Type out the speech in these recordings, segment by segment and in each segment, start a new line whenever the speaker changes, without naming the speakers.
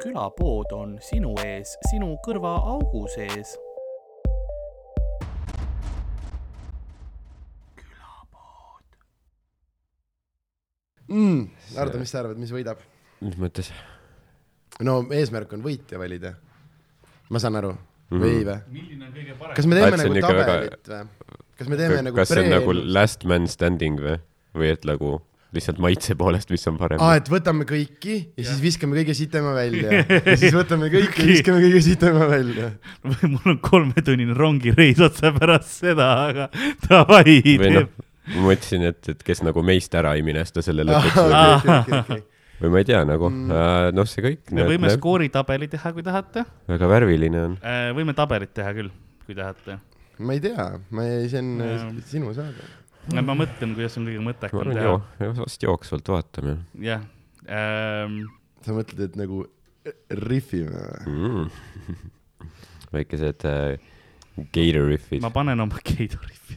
külapood on sinu ees, sinu kõrvaaugu sees.
mm, . arvata , mis sa arvad , mis võidab ?
mis mõttes ?
no eesmärk on võitja valida . ma saan aru mm. , või või ?
milline on kõige parem ?
kas me
Ah,
teeme
et see on
nagu
Mhm. ikka väga-
tabelit või ? kas me teeme nagu
kas see on nagu
preemiumi?
last man standing või , või et nagu lihtsalt maitse poolest , mis on parem
aa , et võtame kõiki ja siis viskame kõige sitema välja ja siis võtame kõik ja viskame kõige sitema välja .
mul on kolmetunnine rongireis otsa pärast seda , aga davai ,
või
teeb
noh , ma mõtlesin , et , et kes nagu meist ära ei minesta selle lõpuks või,
aga
või ma ei tea nagu mm. , noh , see kõik .
me võime skooritabeli teha , kui tahate .
väga värviline on .
võime tabelit teha küll , kui tahate .
ma ei tea , ma ei , see on
Jah.
sinu saade .
ma mõtlen , kuidas on kõige
ma
mõttekam
arvan
teha
joo ., vast jooksvalt vaatame
jah . Ähm,
sa mõtled , et nagu rihvime või ?
mm. . väikesed äh, gatorifid
ma
ma... .
panen oma Gatoriffi .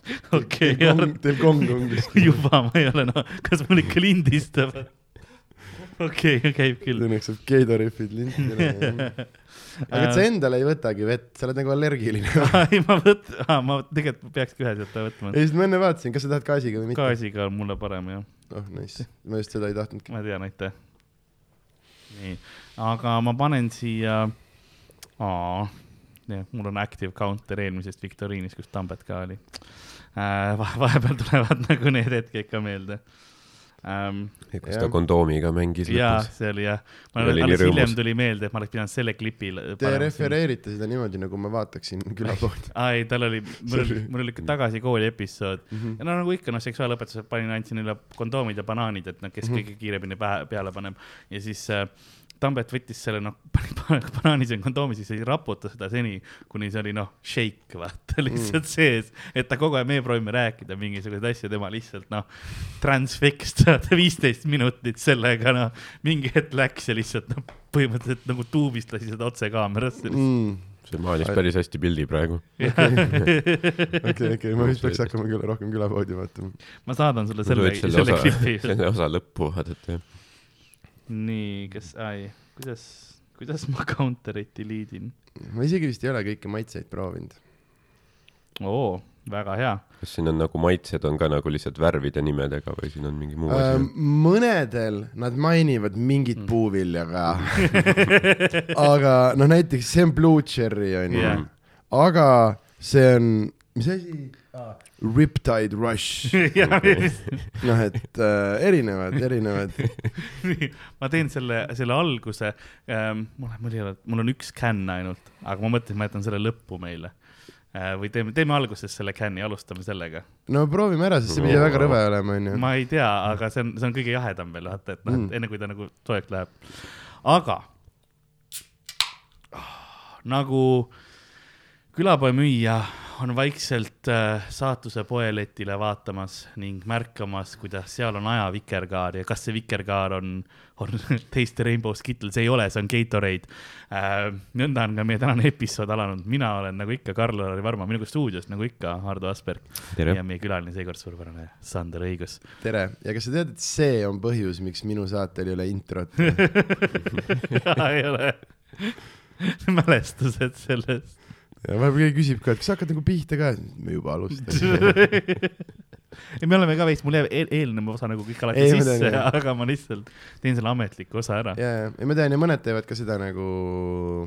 okei ,
teeb kong umbes .
juba ma ei ole , no kas mul ikka lindistab ? okei , käib küll .
Õnneks saab keidorihvid lintidele . aga et sa endale ei võtagi vett , sa oled nagu allergiline .
ei , ma võt- , ma tegelikult peakski ühe sealt võtma .
ei , sest ma enne vaatasin , kas sa tahad gaasiga või mitte .
gaasiga on mulle parem jah
oh , nice . ma just seda ei tahtnudki .
ma tean , aitäh . nii , aga ma panen siia , mul on active counter eelmisest viktoriinist , kus Tambet ka oli äh, . vahepeal tulevad nagu need hetked ka meelde ähm, .
kus
jah.
ta kondoomiga mängis
ja
lõpus .
see oli jah ,
Ja
ma
oli
olen ,
nii
alles
rõõmus.
hiljem tuli meelde , et ma oleks pidanud selle klipi .
Te refereerite seda niimoodi , nagu ma vaataksin külapoodi .
aa ei , tal oli , mul oli
Sorry. , Mhm.
mul oli ikka tagasi kooli episood mm . -hmm. ja no nagu ikka , noh , seksuaalõpetusel panin , andsin üle kondoomid ja banaanid , et noh ,
Mhm.
kes mm -hmm. kõige kiiremini pähe , peale paneb . ja siis äh, Tambet võttis selle , noh , pani ba- banaani sinna kondoomi , siis ei raputa seda seni , kuni see oli , noh , shake , vaata , lihtsalt mm. sees . et ta kogu aeg , meie proovime rääkida mingisuguseid asju , tema lihtsalt , noh , transfixed , saad viisteist minutit sellega , noh , mingi hetk läks ja lihtsalt , noh , põhimõtteliselt nagu tuubist lasi seda otse kaamerasse
Mm,
lihtsalt
see maalis päris hästi pildi praegu .
okei , okei , ma vist peaks hakkama küll rohkem külapoodi vaatama .
ma saadan sulle
sa
selle ,
võid selle
selle
osa ,
klipi .
selle osa lõppu vaadata jah .
nii , kas , ai , kuidas , kuidas ma counter'it delete in ?
ma isegi vist ei ole kõiki maitseid proovinud .
oo , väga hea .
kas siin on nagu maitsed on ka nagu lihtsalt värvide nimedega või siin on mingi muu asi
Ähm, ? mõnedel nad mainivad mingit puuvilja ka . aga noh , näiteks see on blue cherry onju
Jah.
yeah. , aga see on , mis asi ? Riptide Rush , noh et äh, erinevad , erinevad .
ma teen selle , selle alguse ähm, , mul , mul ei ole , mul on üks can ainult , aga ma mõtlesin , ma jätan selle lõppu meile äh, . või teeme , teeme alguses selle can'i , alustame sellega .
no proovime ära , sest see pidi väga rõve olema onju .
ma ei tea , aga see on , see on kõige jahedam veel , vaata , et noh , et enne kui ta nagu soojaks läheb . aga nagu külapoe müüja on vaikselt äh, saatuse poeletile vaatamas ning märkamas , kuidas seal on aja vikerkaar ja kas see vikerkaar on , on teiste Rainbow Skittles , ei ole , see on Gatorade äh, . nõnda on ka meie tänane episood alanud , mina olen nagu ikka Karl-Lari Varma , minuga stuudios nagu ikka Hardo Asperg
Tere.
ja meie külaline seekord suurepärane Sander Õigus .
tere , ja kas sa tead , et see on põhjus , miks minu saatel ei ole introt ?
ei ole mälestused sellest .
ja vahepeal keegi küsib ka , et kas sa hakkad nagu pihta ka , me juba alustasime .
ei , me oleme ka veits , mul jääb eel eelnev osa nagu kõik alati
Ei,
ei,
ma tean,
sisse ,
jah.
aga ma lihtsalt teen selle ametliku osa ära .
ja , ja , ei ma tean ja mõned teevad ka seda nagu ,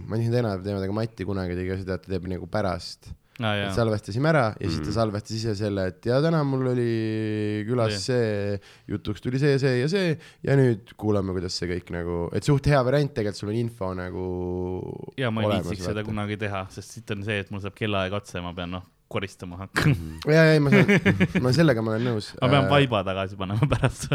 ma ei tea , tänapäeval teevad , aga Mati kunagi tegi ka seda , et ta teeb nagu pärast . et salvestasime ära ja siis
Mhm.
ta salvestas ise selle , et ja täna mul oli külas
Nii.
see , jutuks tuli see , see ja see ja nüüd kuulame , kuidas see kõik nagu , et suht hea variant tegelikult , sul on info nagu .
ja ma ei viitsiks seda . kunagi teha , sest siit on see , et mul saab kellaaeg otsa ja ma pean noh , koristama hakkama .
ja , ja , ei ma saan , ma sellega ma olen nõus . Äh,
ma pean . vaiba tagasi panema pärast .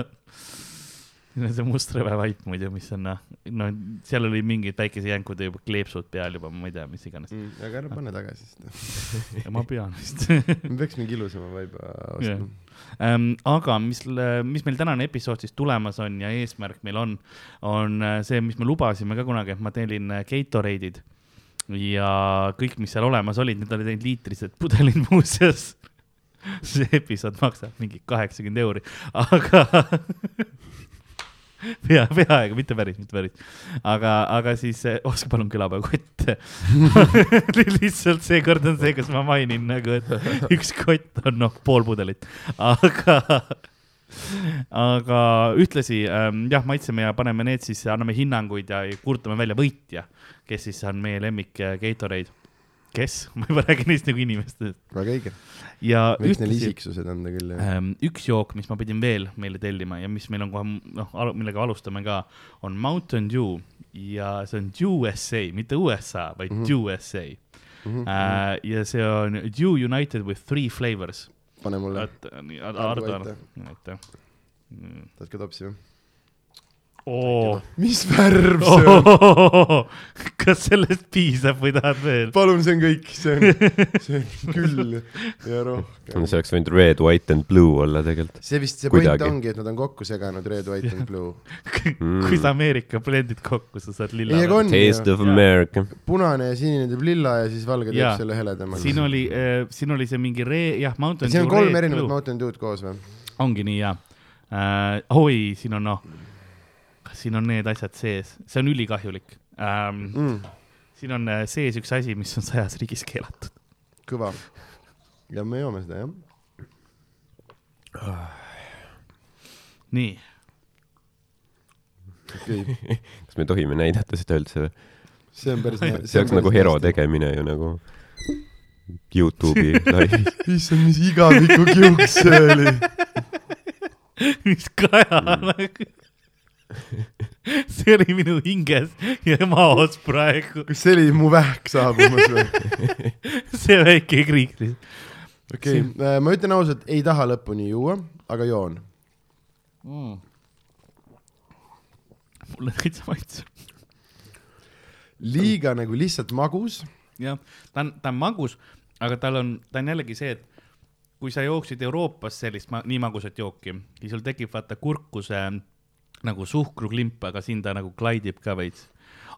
see must rõvevaip muidu , mis on noh , no seal oli mingid päikesejänkude juba kleepsud peal juba , ma ei tea , mis iganes .
mm, aga ära pane tagasi seda ,
ma pean vist
me peaks mingi ilusama vaiba
Jah.
ostma .
ähm, . aga mis , mis meil tänane episood siis tulemas on ja eesmärk meil on , on äh, see , mis me lubasime ka kunagi , et ma tellin äh, Gatorade'id ja kõik , mis seal olemas olid , need olid ainult liitrised pudelid muuseas . see episood maksab mingi kaheksakümmend euri , aga pea , peaaegu , mitte päris , mitte päris . aga , aga siis , ostke palun nagu, külapäevakott . lihtsalt seekord on see , kas ma mainin nagu , et üks kott on noh , pool pudelit , aga , aga ühtlasi ähm, jah , maitseme ja paneme need siis , anname hinnanguid ja kuulutame välja võitja , kes siis on meie lemmik äh, Gatorade . kes , ma juba räägin neist nagu inimestest
väga õige .
ja
võiks neile
ühtlasi-
isiksused anda küll , jah .
Ähm, üks jook , mis ma pidin veel meile tellima ja mis meil on kohe noh , millega alustame ka , on Mountain Dew ja see on USA , mitte USA , vaid mm
Mhm.
-hmm. USA mm . -hmm. Äh, ja see on Dew United with three flavors .
pane mulle , Ardo,
Ardo , aitäh .
tahad ka topsi või ?
oo ,
mis värv see on ?
kas sellest piisab või tahad veel ?
palun , see on kõik , see on , see on küll ja rohkem .
see oleks võinud red , white and blue olla tegelikult
see vist see point
Kuidagi.
ongi , et nad on kokku seganud Red , White and Blue .
kui sa Ameerika blendid kokku , sa saad lilla
ei , aga . on
Taste
ju ,
of America .
punane ja sinine teeb lilla ja siis valge teeb
Jaa.
selle heledamaks .
siin oli äh, , siin oli see mingi ree , jah , Mountain
siin on
Dew
kolm
Red
erinevat
Blue.
Mountain Dew'd koos või ?
ongi nii hea äh, . oi , siin on noh , siin on need asjad sees , see on ülikahjulik ähm, .
Mm,
siin on äh, sees üks asi , mis on sajas riigis keelatud .
kõva . ja me joome seda , jah .
nii ,
okei okay. ,
kas me tohime näidata seda üldse või ?
see on päris
see oleks nagu hero . tegemine ju nagu Youtube'i laivis .
issand , mis igavikukiuk see oli .
mis Kaja nagu . see oli minu hinges ja maos praegu ,
kas see oli mu vähk saabumas või ?
see väike kriiklis .
okei okay. , ma ütlen ausalt , ei taha lõpuni juua , aga joon .
mulle täitsa maitseb .
liiga nagu lihtsalt magus ,
jah , ta on , ta on magus , aga tal on , ta on jällegi see , et kui sa jooksid Euroopas sellist ma, nii magusat jooki , siis sul tekib vaata kurkuse nagu suhkruklimp , aga siin ta nagu klaidib ka veits .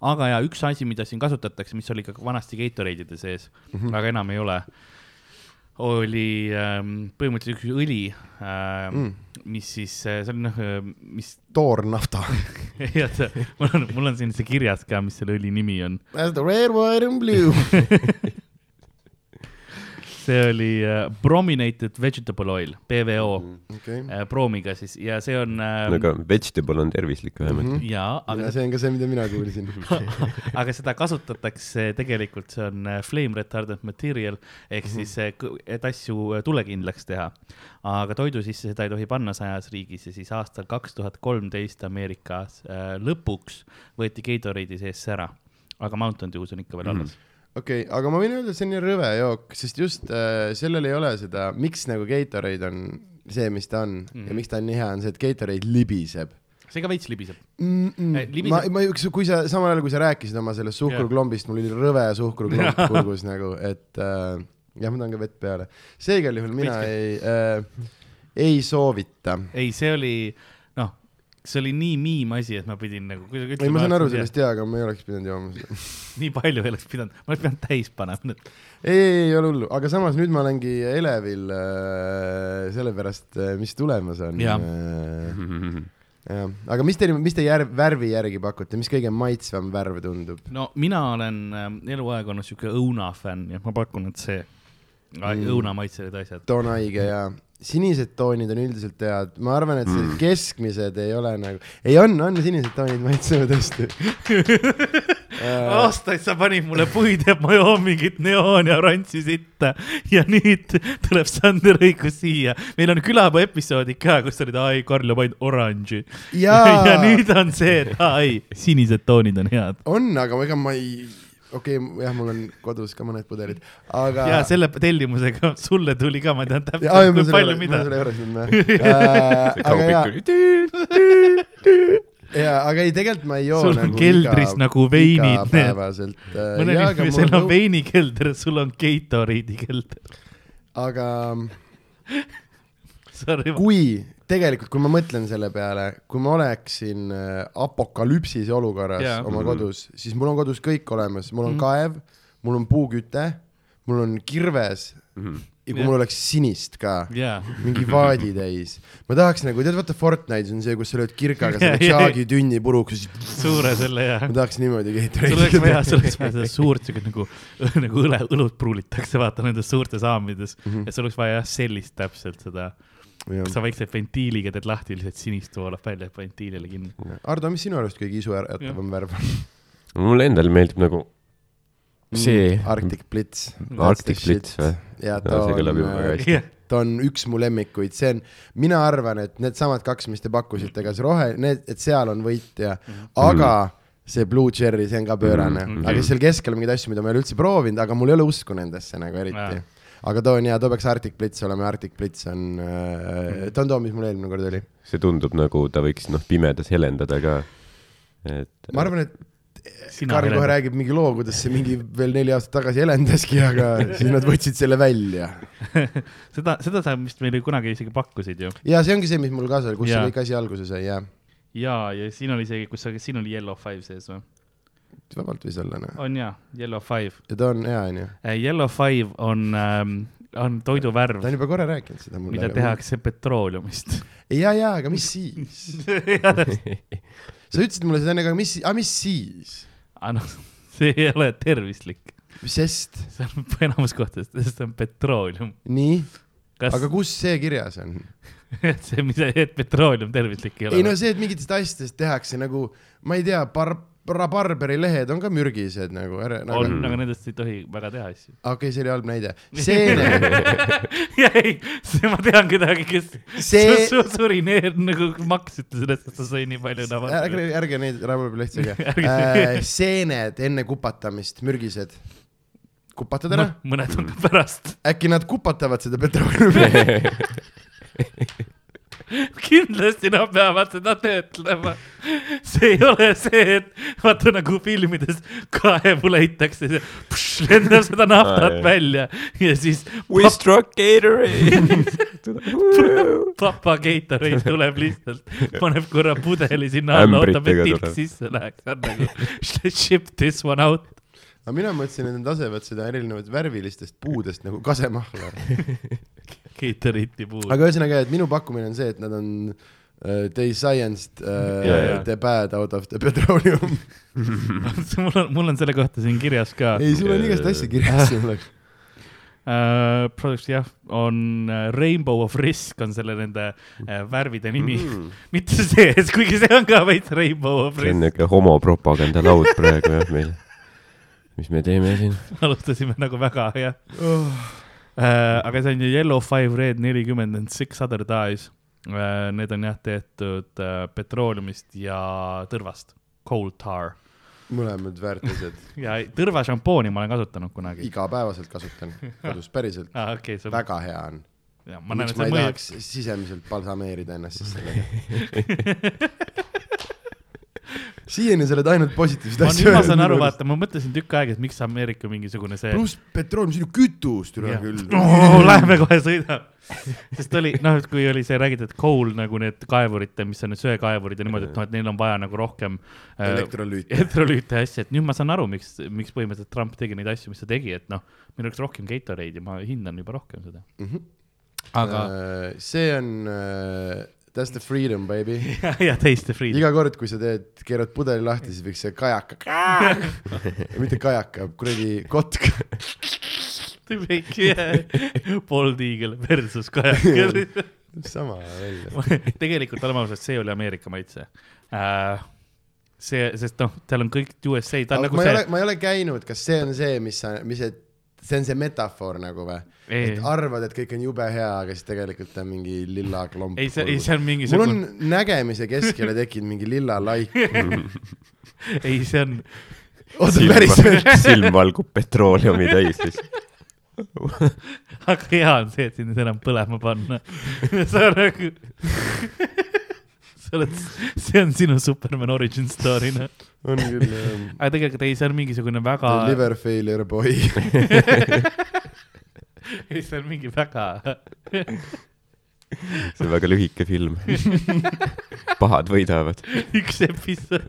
aga ja üks asi , mida siin kasutatakse , mis oli ka vanasti Gatorade'ide sees mm , -hmm. aga enam ei ole , oli ähm, põhimõtteliselt üks õli ähm, , mm. mis siis , see oli noh , mis
toornafta .
ja see , mul on , mul on siin see kirjas ka , mis selle õli nimi on .
That's the red , white and blue .
see oli uh, brominated vegetable oil , PVO mm ,
okei ,
-hmm. proomiga siis ja see on uh,
Ähm.
no aga Nagu vegetable on tervislik vähemalt .
jaa , aga ,
see on ka see , mida mina kuulsin .
aga seda kasutatakse tegelikult , see on uh, flame retardant material ehk mm -hmm. siis , et asju äh, tulekindlaks teha . aga toidu sisse seda ei tohi panna sajas riigis ja siis aastal kaks tuhat kolmteist Ameerikas uh, lõpuks võeti Gatorade'i sees see ära , aga Mountain Dew's on ikka veel alles mm .
okei , aga ma võin öelda , et see on nii rõve jook , sest just äh, sellel ei ole seda , miks nagu Gatorade on see , mis ta on
Mhm.
mm. ja miks ta on nii hea , on see , et Gatorade libiseb .
-hmm. see ka veits libiseb .
Mm
Eh,
-mm. ma
libiseb- ,
ma , kui sa samal ajal , kui sa rääkisid oma sellest suhkruklombist , mul oli rõve suhkruklomb kurgus nagu , et äh, jah , ma tahan ka vett peale . see igal juhul mina ei äh, , ei soovita .
ei , see oli , noh , see oli nii miim asi , et ma pidin nagu kuidagi
ei , ma saan aru sellest . jaa , aga ma ei oleks pidanud jooma seda .
nii palju ei oleks pidanud , ma oleks pidanud täis panema nüüd .
ei , ei , ei ole hullu , aga samas nüüd ma olengi elevil äh, sellepärast , mis tulemas on .
Jah. Mhm.
jah , aga mis teil , mis te järv , värvi järgi pakute , mis kõige maitsvam värv tundub ?
no mina olen ähm, eluaeg olnud siuke õunafänn ja ma pakun , et see mm.
Mm.
õunamaitselised asjad .
toon haige ja sinised toonid on üldiselt head , ma arvan , et
Mm.
sellised keskmised ei ole nagu , ei on , on sinised toonid maitsevad hästi . Äh,
aastaid sa panid mulle puid ja ma joon mingit neooni oranži sitta ja nüüd tuleb Sander Õigus siia . meil on külapäeva episoodid ka , kus sa olid , ai , Karl joob ainult oranži . ja
jaa ,
nüüd on see , et ai , sinised toonid on head .
on , aga ega ma ei , okei okay, , jah , mul on kodus ka mõned pudelid , aga .
ja selle tellimusega sulle tuli ka , ma tean
Jaa, ei,
täpselt ,
ma selle
kui palju
juures- ma
mida .
selle juures nüüd näen . aga jaa , jaa , aga ei , tegelikult ma ei joo .
Sul on keldris nagu veinid need.
igapäevaselt .
mõnel inimesel
nagu
on veinikelder , sul on Gatorade'i kelder .
aga
Sorry ,
kui tegelikult , kui ma mõtlen selle peale , kui ma oleksin äh, apokalüpsise olukorras
Jaa.
yeah.
Mhm.
oma
Mhm.
kodus , siis mul on kodus kõik olemas , mul on mm. kaev , mul on puuküte , mul on kirves ja kui mul oleks sinist ka ,
jaa .
mingi vaadi täis . ma tahaks nagu , tead , vaata Fortnite'is on see , kus sa lööd kirkaga selle Chagi tünni puruks ja siis
suure selle ja .
ma tahaks niimoodi
sul oleks
Gatorade'i .
vaja , sul oleks vaja seda suurt siukest nagu , nagu õle , õlut pruulitakse , vaata nendes suurtes haamides mm .
Mhm.
-hmm. ja sul oleks vaja jah, sellist täpselt seda , sa väikse ventiiliga teed lahti , lihtsalt sinist voolab välja , et ventiilile kinni .
Ardo , mis sinu arust kõige isuäratavam värv on ?
mulle endale meeldib nagu see
Mm, Arctic Blitz .
Arctic Blitz või ?
ja ta
No, see
on
kõlab
äh,
juba väga , hästi .
jah ,
ta on üks mu lemmikuid , see on , mina arvan , et needsamad kaks , mis te pakkusite , kas rohe , need , et seal on võitja , aga
Mhm.
see Blue Cherry , see on ka pöörane ,
Mhm.
aga seal keskel on mingeid asju , mida ma ei ole üldse proovinud , aga mul ei ole usku nendesse nagu eriti
Jaa. .
aga too on hea , too peaks Arctic Blitz olema ja Arctic Blitz on äh, , ta on too , mis mul eelmine kord oli .
see tundub nagu ta võiks noh , pimedas helendada ka . et
ma arvan , et
Sina
Karl kohe
helendad.
räägib mingi loo , kuidas see mingi veel neli aastat tagasi helendaski , aga siis nad võtsid selle välja
seda , seda sa vist meile kunagi isegi pakkusid ju .
ja see ongi see , mis mul ka seal , kus see
Jaa.
kõik asi alguse sai ja
ja , ja siin oli isegi , kus sa , siin oli Yellow Five sees või ?
vabalt võis olla noh .
on jaa , Yellow Five .
ja ta on hea onju .
Äh, Yellow Five on ähm, , on toiduvärv
ta , on juba korra rääkinud seda mulle .
mida . tehakse petrooleumist .
ja , ja , aga mis siis ? sa ütlesid mulle seda enne , aga mis , aga mis siis ?
aga noh , see ei ole tervislik ,
sest ,
see on enamus kohtades , see on petrooleum .
nii ,
kas
aga kus see kirjas on ?
et see , mis , et petrooleum tervislik ei
ei no
ole ?
see , et mingitest asjadest tehakse nagu , ma ei tea , bar- , rabarberi lehed on ka mürgised nagu , ära ,
on
aga ,
aga nendest ei tohi väga teha asju .
okei , see oli halb näide . seene ,
ei , see ma tean kedagi , kes
See-
see... su, su, suri neer, nagu maksiti sellest , et ta sõi nii palju
ärge ,
nava- .
ärge neid rabarberi lehti
Ärge-
sege . Äh, seened enne kupatamist , mürgised . kupatad ära ,
Noh, mõned on ka pärast ,
äkki nad kupatavad seda petrooleumi ?
kindlasti nad peavad seda töötlema . see ei ole see , et vaata nagu filmides kaevu leitakse , lendab seda
Aa,
naftat
jah.
välja ja siis
We struck Gatorade .
papa Gatorade tuleb lihtsalt , paneb korra pudeli sinna alla , ootab , et
Ämbritega
tilk
tuleb.
sisse läheks , on nagu ship this one out .
aga mina mõtlesin , et nad lasevad seda erinevat värvilistest puudest nagu kasemahla .
Gatorade'i puhul .
aga ühesõnaga , et minu pakkumine on see , et nad on uh, they scienced uh,
Jaa, jaa.
the bad out of the petroleum .
mul on , mul on selle kohta siin kirjas ka .
ei , sul on igast asja kirjas sul oleks .
Products Äh, jah , on äh, Rainbow of Risk on selle nende äh, värvide nimi mm. . mitte see , kuigi see on ka veits Rainbow of
see on
Risk .
niuke homopropaganda laud praegu jah meil . mis me teeme siin ?
alustasime nagu väga jah Äh, aga see on ju Yellow Five Red nelikümmend and six other dies . Need on jah tehtud äh, petrooleumist ja tõrvast , coal tar .
mõlemad väärtused ,
ja tõrva šampooni ma olen kasutanud kunagi .
igapäevaselt kasutan kodus , päriselt ,
aa , okei , see on ,
väga hea on .
ma näen ,
miks ma
et see
ei
mõjub .
tahaks sisemiselt balsameerida ennast siis sellega ? siiani sa oled ainult positiivseid
ma
asju
nüüd ma saan aru , vaata , ma mõtlesin tükk aega , et miks Ameerika mingisugune see .
pluss petrooleum , see on ju kütust üle
Jah.
küll .
Oh, Lähme kohe sõidame . sest oli , noh , et kui oli see räägitud , et coal nagu need kaevurite , mis on need söekaevurid ja niimoodi , et noh , et neil on vaja nagu rohkem äh,
elektrolüüt .
elektrolüüte ja asju , et nüüd ma saan aru , miks , miks põhimõtteliselt Trump tegi neid asju , mis ta tegi , et noh , meil oleks rohkem Gatorade'i , ma hindan juba rohkem seda . aga äh... ,
Mhm. see on uh, , that's the freedom , baby .
ja, ja teiste Freedom .
iga kord , kui sa teed , keerad pudeli lahti , siis võiks see kajaka , mitte kajaka , kuradi kotk .
Bold Eagle versus Kajakal .
sama välja .
tegelikult oleme ausad , see oli Ameerika maitse äh, . see , sest noh , tal on kõik USA , ta
aga
on nagu
ma ei ole
see ,,
ma ei ole käinud , kas see on see , mis sa , mis see , see on see metafoor nagu või ?
Ei.
et arvad , et kõik on jube hea , aga siis tegelikult on mingi lilla klomp .
ei see , ei see on
mul on
mingisugune ,
nägemise keskele tekkinud mingi lilla laik .
ei see on ,
oota , päriselt ?
silm valgub petrooleumi täis siis .
aga hea on see , et sind ei saa enam põlema panna . sa nagu , sa oled , see on sinu Superman origin story , noh .
on küll jah .
aga tegelikult ei , see on mingisugune väga ,
Liver failure boy .
ei see on mingi väga ,
see on väga lühike film . pahad võidavad .
üks episood .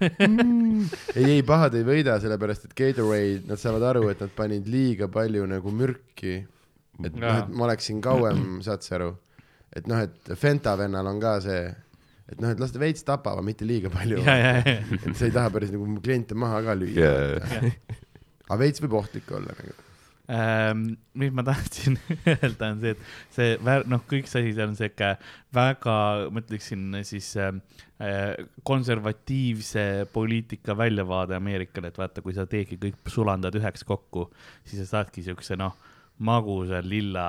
ei , ei pahad ei võida , sellepärast et Gatorade , nad saavad aru , et nad panid liiga palju nagu mürki . et noh , et ma oleksin kauem , saad sa aru , et noh , et Fenta vennal on ka see , et noh , et las ta veits tapab , aga mitte liiga palju .
ja , ja , ja ,
et sa ei taha päris nagu mu kliente maha ka lüüa
Yeah.
ja .
aga veits võib ohtlik olla nagu .
Ähm, mis ma tahtsin öelda , on see , et see väär- , noh , kõik see asi seal on sihuke väga , ma ütleksin siis ähm, äh, konservatiivse poliitika väljavaade Ameerikale , et vaata , kui sa teedki kõik sulandad üheks kokku , siis sa saadki siukse noh , magusa lilla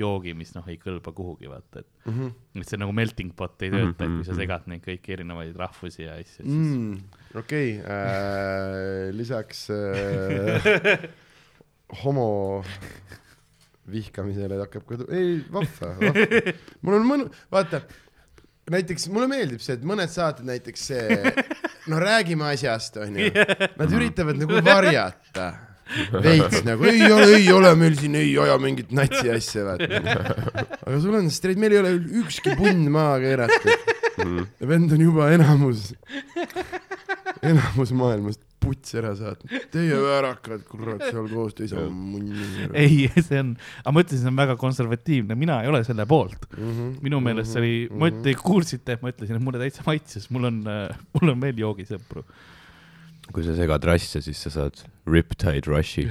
joogi , mis noh , ei kõlba kuhugi , vaata , et
Mm -hmm.
et see nagu melting pot ei tööta , et kui sa
Mhm.
segad neid kõiki erinevaid rahvusi ja asju , siis mm.
mm, . okei okay, äh, , lisaks äh, homo vihkamisele hakkab ka , ei vahva, vahva. , mul on mõnu , vaata , näiteks mulle meeldib see , et mõned saated näiteks see , no räägime asjast , onju , nad üritavad nagu varjata veits nagu ei ole , ei ole , meil siin ei aja mingit natsi asja , vaata . aga sul on streit , meil ei ole ükski punn maha keeratud . ja vend on juba enamus , enamus maailmast putsi ära saatnud . Teie väärakad , kurat , seal koos te ei saa munni ära .
ei , see on , aga ma ütlesin , see on väga konservatiivne , mina ei ole selle poolt .
Mhm.
minu meelest see oli ,
Mhm,
ma üt- , te kuulsite , et ma ütlesin , et mulle täitsa maitses , mul on , mul on veel joogisõpru .
kui sa segad rasse , siis sa saad Riptide Rushi .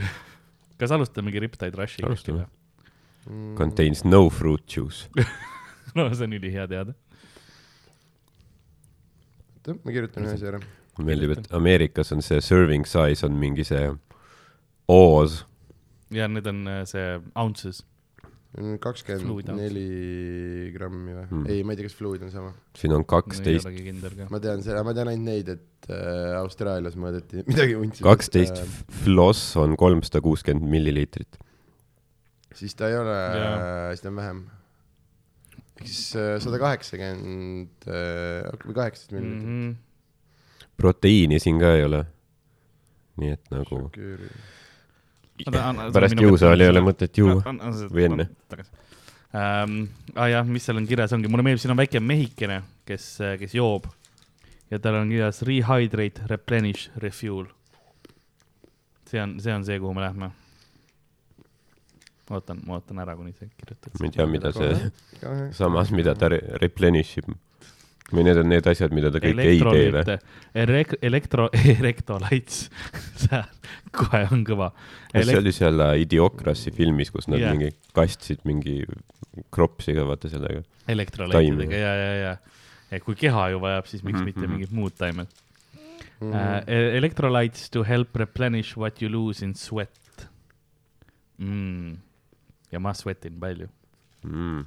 kas alustamegi Riptide Rushiga ?
Alustame. . Contains no fruit juice .
no see on ülihea teada .
oota , ma kirjutan ühe asja ära .
mulle meeldib , et Ameerikas on see serving size on mingi see oos .
ja need on äh, see ounces . Fluid
kakskümmend
on.
neli grammi või
Mm.
mm. ? ei , ma ei tea , kas fluid on sama .
siin on kaksteist ,
ei olegi kindel ka .
ma tean seda , ma tean ainult neid , et äh, Austraalias mõõdeti midagi untsi . Äh.
kaksteist floss on kolmsada kuuskümmend milliliitrit .
siis ta ei ole äh,
Jaa. ,
siis ta on vähem . ehk siis äh, sada kaheksakümmend või kaheksateist miljonit .
Mhm.
proteiini siin ka ei ole . nii et nagu pärast juusaali ei ole mõtet juua . Või enne. .
Ähm, ah jah , mis seal on kirjas , ongi , mulle meeldib , siin on väike mehikene , kes , kes joob ja tal on kirjas rehydrate , replenish , refuel . see on , see on see , kuhu me lähme . ootan , ma ootan ära , kuni see kirjutad .
ma ei tea , mida see
kahe ,
samas , mida ta re- replenish ib . või need on need asjad , mida ta kõik ei tee või ?
elektrolüüte , elek- , elektro , elektrolaits , see kohe on kõva .
see oli seal Idiokrasi filmis , kus nad
Jah.
mingi kastsid mingi kropsiga , vaata sellega .
elektrolaitidega
taimi.
ja , ja , ja, ja kui keha ju vajab , siis miks
Mhm,
mm -hmm. mitte
mhm.
mingid muud taimed
Mhm.
mm -hmm. uh, . Electrolytes to help replenish what you lose in sweat mm. . ja ma sweatin palju .
mm. .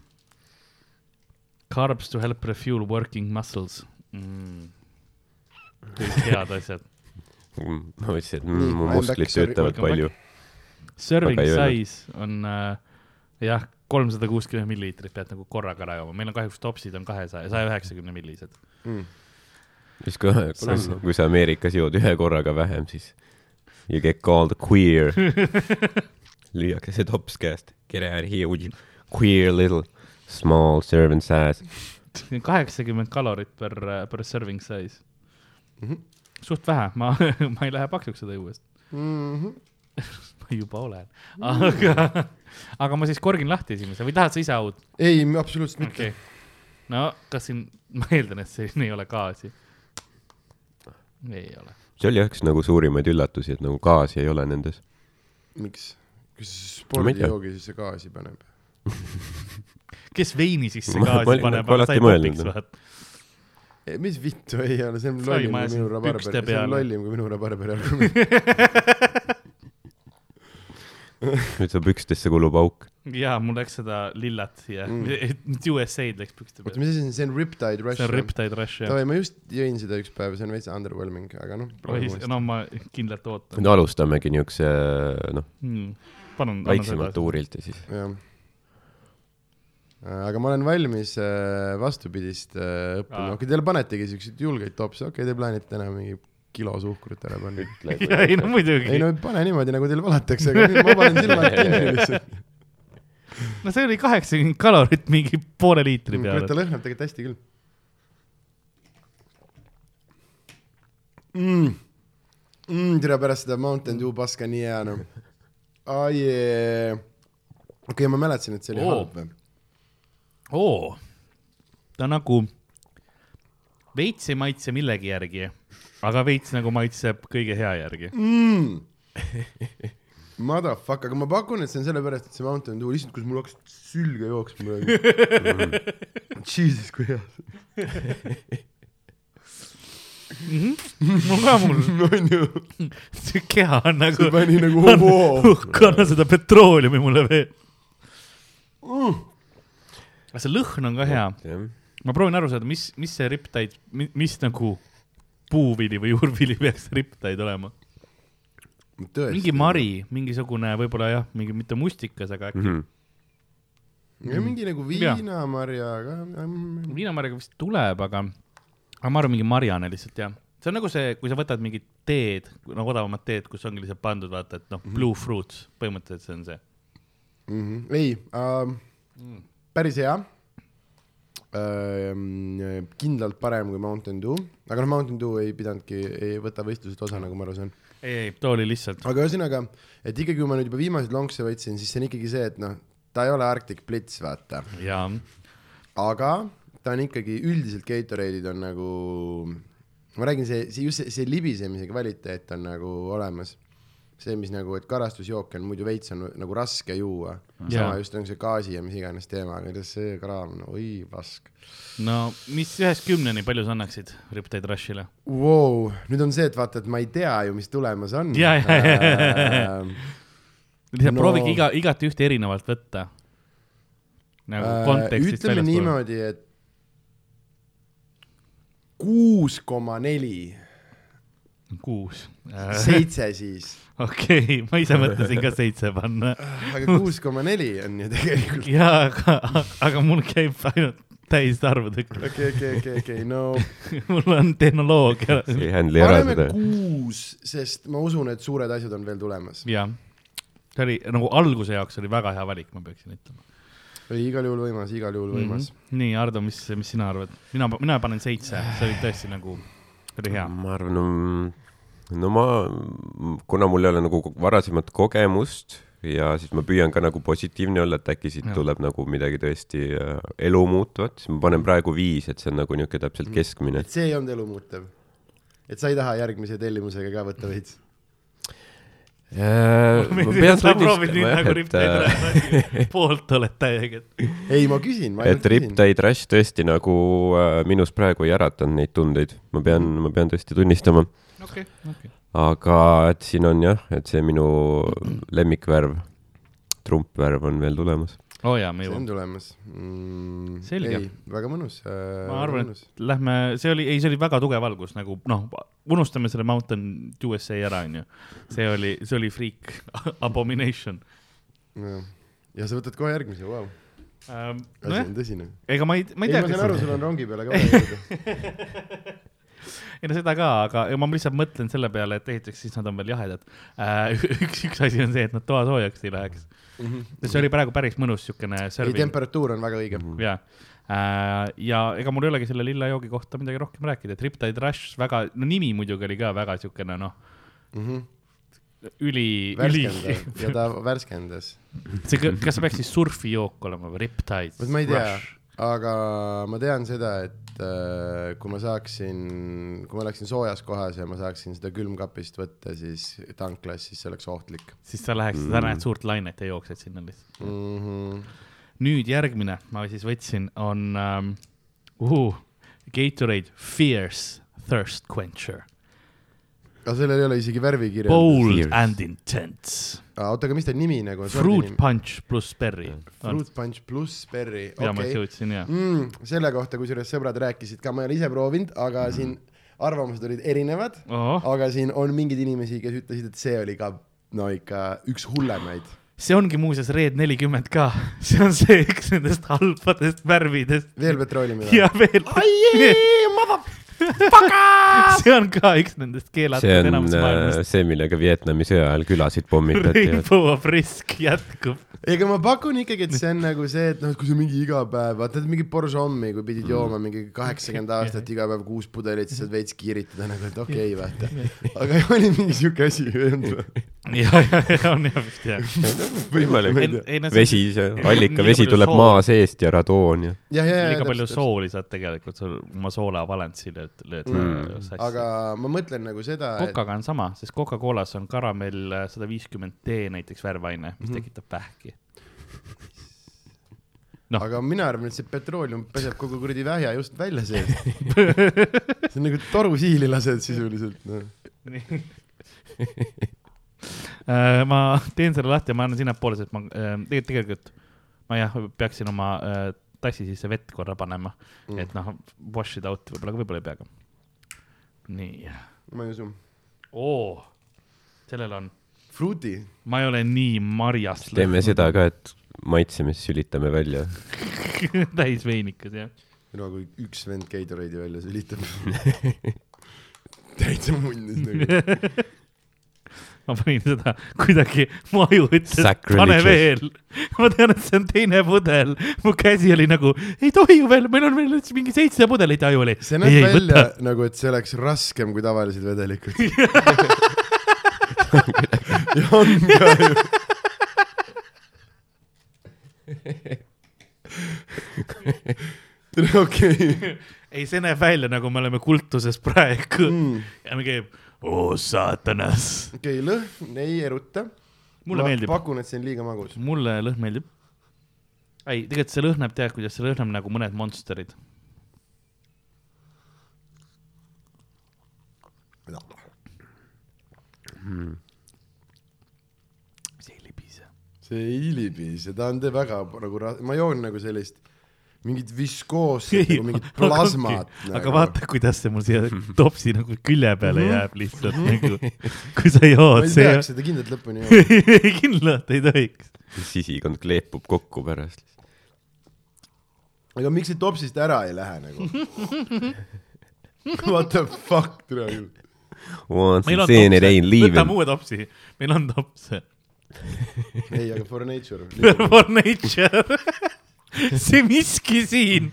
Carbs to help refuel working muscles mm. . kõik head asjad .
ma mõtlesin , et
Nii,
mm, mu
I am back,
musklid
sorry,
töötavad
welcome
palju .
Serving
Väga ei öelnud.
size on uh, jah , kolmsada kuuskümmend milliliitrit pead nagu korraga ära jooma , meil on kahjuks topsid on kahesaja , saja üheksakümne millised .
Mhm.
siis kui , kui sa Ameerikas jood ühe korraga vähem , siis you get called queer . lüüakse see tops käest . Get out here with you queer little small servant size .
kaheksakümmend kalorit per , per serving size
Mhm.
suht vähe , ma , ma ei lähe paksuks seda juues ,
Mhm.
ma juba olen ,
Mm.
aga , aga ma siis korgin lahti esimese või tahad sa ise aud ?
ei , absoluutselt mitte .
okei okay. . no kas siin , ma eeldan , et siin ei ole gaasi . ei ole .
see oli üks nagu suurimaid üllatusi , et nagu gaasi ei ole nendes .
miks ? kui sa
Ma ei tea.
spordijoogi sisse gaasi paneb .
kes veini sisse
Ma- ma
gaasi
olin-
paneb
ma , alati
sai
mõelnud,
popiks
noh.
vaata .
mis vittu ei ole , see on
Sai
lollim
ma
kui minu
siin
rabarber ,
pükste
see
peale.
on lollim kui minu rabarber argument .
nüüd su pükstesse kulub auk .
jaa , mul läks seda lillat siia mm. , USA-d läks pükste
oota ,
peale .
mis asi see on , see on Riptide Rush
see on ? Riptide Rush jah .
Davai , ma just jõin seda üks päev , see on veits underwhelming , aga noh .
oi , no ma kindlalt ootan
nüüd alustamegi niisuguse , noh ,
mm. . palun .
väiksemalt . tuurilt ja siis .
jah . aga ma olen valmis äh, vastupidist äh,
Aa.
õppima , okei , teile panetegi siukseid julgeid topse , okei , te plaanite täna mingi kilo suhkrut ära panna .
ei no muidugi
ei . no pane niimoodi , nagu teil valatakse , aga ma panen silmad kinni lihtsalt .
no see oli kaheksakümmend kalorit mingi poole
Mm,
liitri
ta
peale .
lõhnab tegelikult hästi küll . mm. . Mm, tere pärast seda Mountain Dew paska nii hea noh . ai , okei , ma mäletasin , et see oli
Oo.
halb või ?
oo , ta nagu veits ei maitse millegi järgi , aga veits nagu maitseb kõige hea järgi .
mm. . Motherfuck , aga ma pakun , et see on sellepärast , et see Mountain Dew , issand , kus mul hakkas sülge jooksma praegu . Jesus , kui hea see
mul ka mul ,
on . on ju ,
see keha on nagu
see pani nagu hoo .
uhk , anna seda petrooleumi mulle veel . aga see lõhn on ka hea ,
jah .
ma proovin aru saada , mis , mis see riptaid , mis nagu puuvili või juurvili peaks see riptaid olema . mingi
tõesti ,
mari , mingisugune võib-olla jah , mingi mitte mustikas , aga
Mhm.
äkki mm
mingi nagu
Jaa.
viinamarja , aga .
-hmm. viinamarjaga vist tuleb , aga , aga ma arvan , mingi marjane lihtsalt jah . see on nagu see , kui sa võtad mingid teed , nagu odavamad teed , kus ongi lihtsalt pandud vaata , et noh ,
Mhm.
blue fruits , põhimõtteliselt see on see .
ei , päris hea . kindlalt parem kui Mountain Dew , aga noh , Mountain Dew ei pidanudki , ei võta võistlusest osa , nagu ma aru saan .
ei , ei , too oli lihtsalt ,
aga ühesõnaga , et ikkagi , kui ma nüüd juba viimaseid lonkse võtsin , siis see on ikkagi see , et noh , ta ei ole Arctic Blitz , vaata ,
jaa ,
aga ta on ikkagi üldiselt Gatorade'id on nagu , ma räägin , see , see just see, see libisemise kvaliteet on nagu olemas . see , mis nagu , et karastusjooki on muidu veits on nagu raske juua ,
Jaa.
sama just on see gaasi ja mis iganes teema , aga tead, see kraam , no oi vask
no mis ühest kümneni , palju sa annaksid riptaid Rushile ?
wow. . nüüd on see , et vaata , et ma ei tea ju , mis tulemas on .
Jaa, jaa, jaa.
Äh,
lihtsalt
No-
no... proovige iga , igati ühte erinevalt võtta . nagu
Äh,
kontekstist
ütleme
väljaspool .
niimoodi , et kuus koma neli ,
kuus .
seitse siis ,
okei , ma ise mõtlesin ka seitse panna .
aga kuus koma neli on ju tegelikult .
jaa , aga , aga mul käib ainult täisarvudega .
okei , okei , okei , okei , no
mul on tehnoloogia .
ei handle'i ära
paneme
seda .
kuus , sest ma usun , et suured asjad on veel tulemas .
jaa . see oli nagu alguse jaoks oli väga hea valik , ma peaksin ütlema .
oli igal juhul võimas , igal
Mhm.
juhul võimas mm .
nii , Ardo , mis , mis sina arvad ? mina , mina panen seitse , see oli tõesti nagu , oli hea .
ma arvan , no ma , kuna mul ei ole nagu varasemat kogemust ja siis ma püüan ka nagu positiivne olla , et äkki siit
Jah.
tuleb nagu midagi tõesti äh, elumuutvat , siis ma panen praegu viis , et see on nagu niisugune täpselt keskmine
-hmm. . see ei olnud elumuutev . et sa ei taha järgmise tellimusega ka võtta veits ?
ma
sa proovid nüüd nagu ripteid
et , äh,
ära , poolt oled täiega , et
ei , ma küsin , ma
et
ainult küsin .
Riptide Rush tõesti nagu äh, minus praegu ei äratanud neid tundeid , ma pean ,
Mm.
ma pean tõesti tunnistama ,
okei , okei .
aga et siin on jah , et see minu lemmikvärv , trumpvärv on veel tulemas .
oo jaa , me
see on
jõuame .
tulemas mm, .
Selge.
ei , väga mõnus äh, .
ma arvan , et lähme , see oli , ei , see oli väga tugev algus nagu noh , unustame selle Mountain USA ära , onju . see oli , see oli freak abomination
Jah. ja sa võtad kohe järgmise , vau .
ähm, .
asi
nojah
on , tõsine .
ega ma ei , ma
ei ,
ei tea ,
ma saan aru ,
kas ,
sul on rongi peale ka vaja jõuda .
ei no seda ka , aga ma lihtsalt mõtlen selle peale , et esiteks siis nad on veel jahedad äh, . üks , üks asi on see , et nad toa soojaks ei läheks . see oli praegu päris mõnus siukene
ei ,
serving ,
temperatuur on väga õige .
jaa . ja ega mul ei olegi selle lilla joogi kohta midagi rohkem rääkida , et Riptide Rush väga , no nimi muidugi oli ka väga siukene noh , üli , üli
värskendav Mhm. ja ta värskendas .
see , kas see peaks siis surfijook olema või riptide ?
vot ma ei tea , aga ma tean seda , et äh, kui ma saaksin , kui ma oleksin soojas kohas ja ma saaksin seda külmkapist võtta , siis tanklas , siis see oleks ohtlik
siis sa läheksid mm. , sa näed suurt lainet ja jooksed sinna lihtsalt .
mm . -hmm.
nüüd järgmine , ma siis võtsin , on um, uh, Gatorade Fierce Thirst Quencher .
aga sellel ei ole isegi värvi kirjas .
Bold
Fierce.
Fierce. and intense .
oota , aga mis ta nimi nagu on ?
Fruit . punch pluss berry .
Fruit Punch pluss Berry ,
ja ma
okei .
jõudsin ja .
mm, . selle kohta , kusjuures sõbrad rääkisid ka , ma ei ole ise proovinud , aga
Mhm.
mm. siin arvamused olid erinevad .
Oh,
aga siin on mingeid inimesi , kes ütlesid , et see oli ka no ikka üks hullemaid .
see ongi muuseas Red nelikümmend ka , see on see üks nendest halbadest värvidest
veel petrooleumi
ja veel .
või ?
see on ka üks nendest
see
keelatud
on
enamus
äh,
maailmast .
see , millega Vietnami sõja ajal külasid pommitati .
Rainbow of Risk jätkub .
ega ma pakun ikkagi , et see on nagu see , et noh , et kui sa mingi iga päev , vaata et mingi Borjomi , kui pidid jooma mingi kaheksakümmend aastat iga päev kuus pudelit , siis saad veits kiiritada nagu , et okei okay, , vaata . aga oli mingi siuke asi või ei olnud ?
ja , ja , ja on jah vist jah .
Ma
võimalik
ei . tea.
vesi , see allikavesi tuleb maa seest ja radoon ja .
jah , jah ,
liiga palju sooli saad tegelikult , sul oma soolavalansi lööd , lööd
Mm.
sassi .
aga ma mõtlen nagu seda , et
Coca-ga on sama , sest Coca-Colas on karamell äh, sada viiskümmend D näiteks värvaine , mis tekitab vähki . Noh.
aga mina arvan , et see petrooleum peseb kogu kuradi vähja just välja seest . see on nagu torusiili lased sisuliselt noh. no. .
Äh, ma teen selle lahti ja ma annan sinnapoole , sest ma äh, tegelikult , tegelikult ma jah , peaksin oma äh, tassi sisse vett korra panema , et noh , wash it out võib-olla , aga võib-olla ei pea ka . nii ,
ma ei usu .
oo , sellel on ,
Fruity ,
ma ei ole nii marjas .
teeme seda ka , et maitseme , siis sülitame välja .
täis veinikas jah .
no kui üks vend Gatorade'i välja sülitab . täitsa munnis nagu .
ma panin seda kuidagi , mu aju ütles , pane
Sacrilegious.
veel . ma tean , et see on teine pudel , mu käsi oli nagu , ei tohi ju veel , meil on veel üldse mingi seitse pudelit ja aju oli .
see
ei
näeb , välja nagu , et see oleks raskem kui tavalised vedelikud . ja on ka ju . okei .
ei , see näeb välja nagu me oleme kultuses praegu mm. ja me käib , oo saatanas .
okei okay, , lõhn ei eruta .
Mulle
ma
meeldib.
pakun , et see on liiga magus .
mulle lõhn meeldib . ei , tegelikult see lõhnab , tead , kuidas see lõhnab nagu mõned monsterid . Hmm. see ei libise .
see ei libise , ta on te- väga nagu , ma joon nagu sellist mingit viskoosset , nagu mingit plasmat . nagu.
aga, aga vaata , kuidas see mul siia topsi nagu külje peale jääb lihtsalt nagu , kui sa
Mhm. ma ,
jood
ei
see
peaks seda kindlalt lõpuni jooma .
kindlalt ei tohiks .
sisikond kleepub kokku pärast .
aga miks see topsist ära ei lähe nagu ? What the fuck , tere ju .
once in seen it ain't
võtame
leaving .
uue topsi , meil on topse .
ei , aga for nature .
For nature , see miski siin ,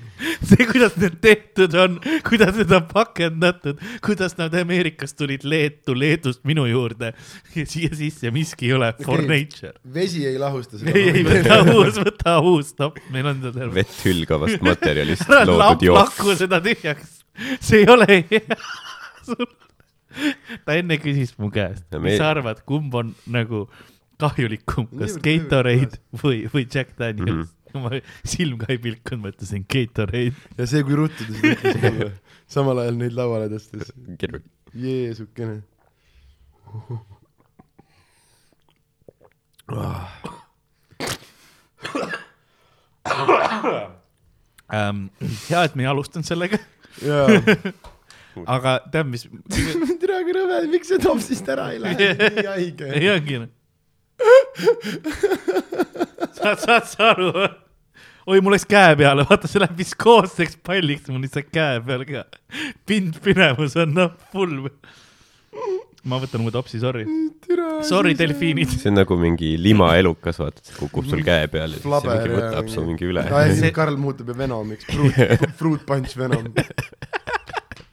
see , kuidas need tehtud on , kuidas need on pakendatud , kuidas nad Ameerikast tulid Leetu , Leedust minu juurde ja siia sisse miski ei ole for
Okei.
nature .
vesi ei lahusta seda .
ei , ei võta uus , võta uus topp , meil on ta terve .
vett hülgavast materjalist
ära
loodud
lapp
jook .
lakku seda tühjaks , see ei ole hea sul . ta enne küsis mu käest ,
Ja
mis
me-
sa arvad , kumb on nagu kahjulikum , kas
Niivõrd
Gatorade või , või Jack
Mhm.
Daniels mm ? -hmm. ma silm ka ei pilkunud , ma ütlesin Gatorade .
ja see , kui ruttu ta seda ütles mulle , samal ajal neid lauale tõstes . Jeesukene .
Ähm, hea , et me ei alustanud sellega ,
jaa
aga tead , mis ,
tere , aga rõve , miks see topsist ära ei lähe , nii haige .
ei ongi . saad , saad sa aru ? oi , mul läks käe peale , vaata , see läheb viskoosseks palliks , mul lihtsalt käe peal ka . pindpinevus on noh , full . ma võtan uue topsi , sorry . Sorry ,. delfiinid .
see on nagu mingi limaelukas , vaata , see kukub sul käe peale , siis see
Flaber
mingi võtab su mingi üle .
aa , ja
See-
siis Karl muutub ju Venomiks , Fruit , Fruit Punch Venom .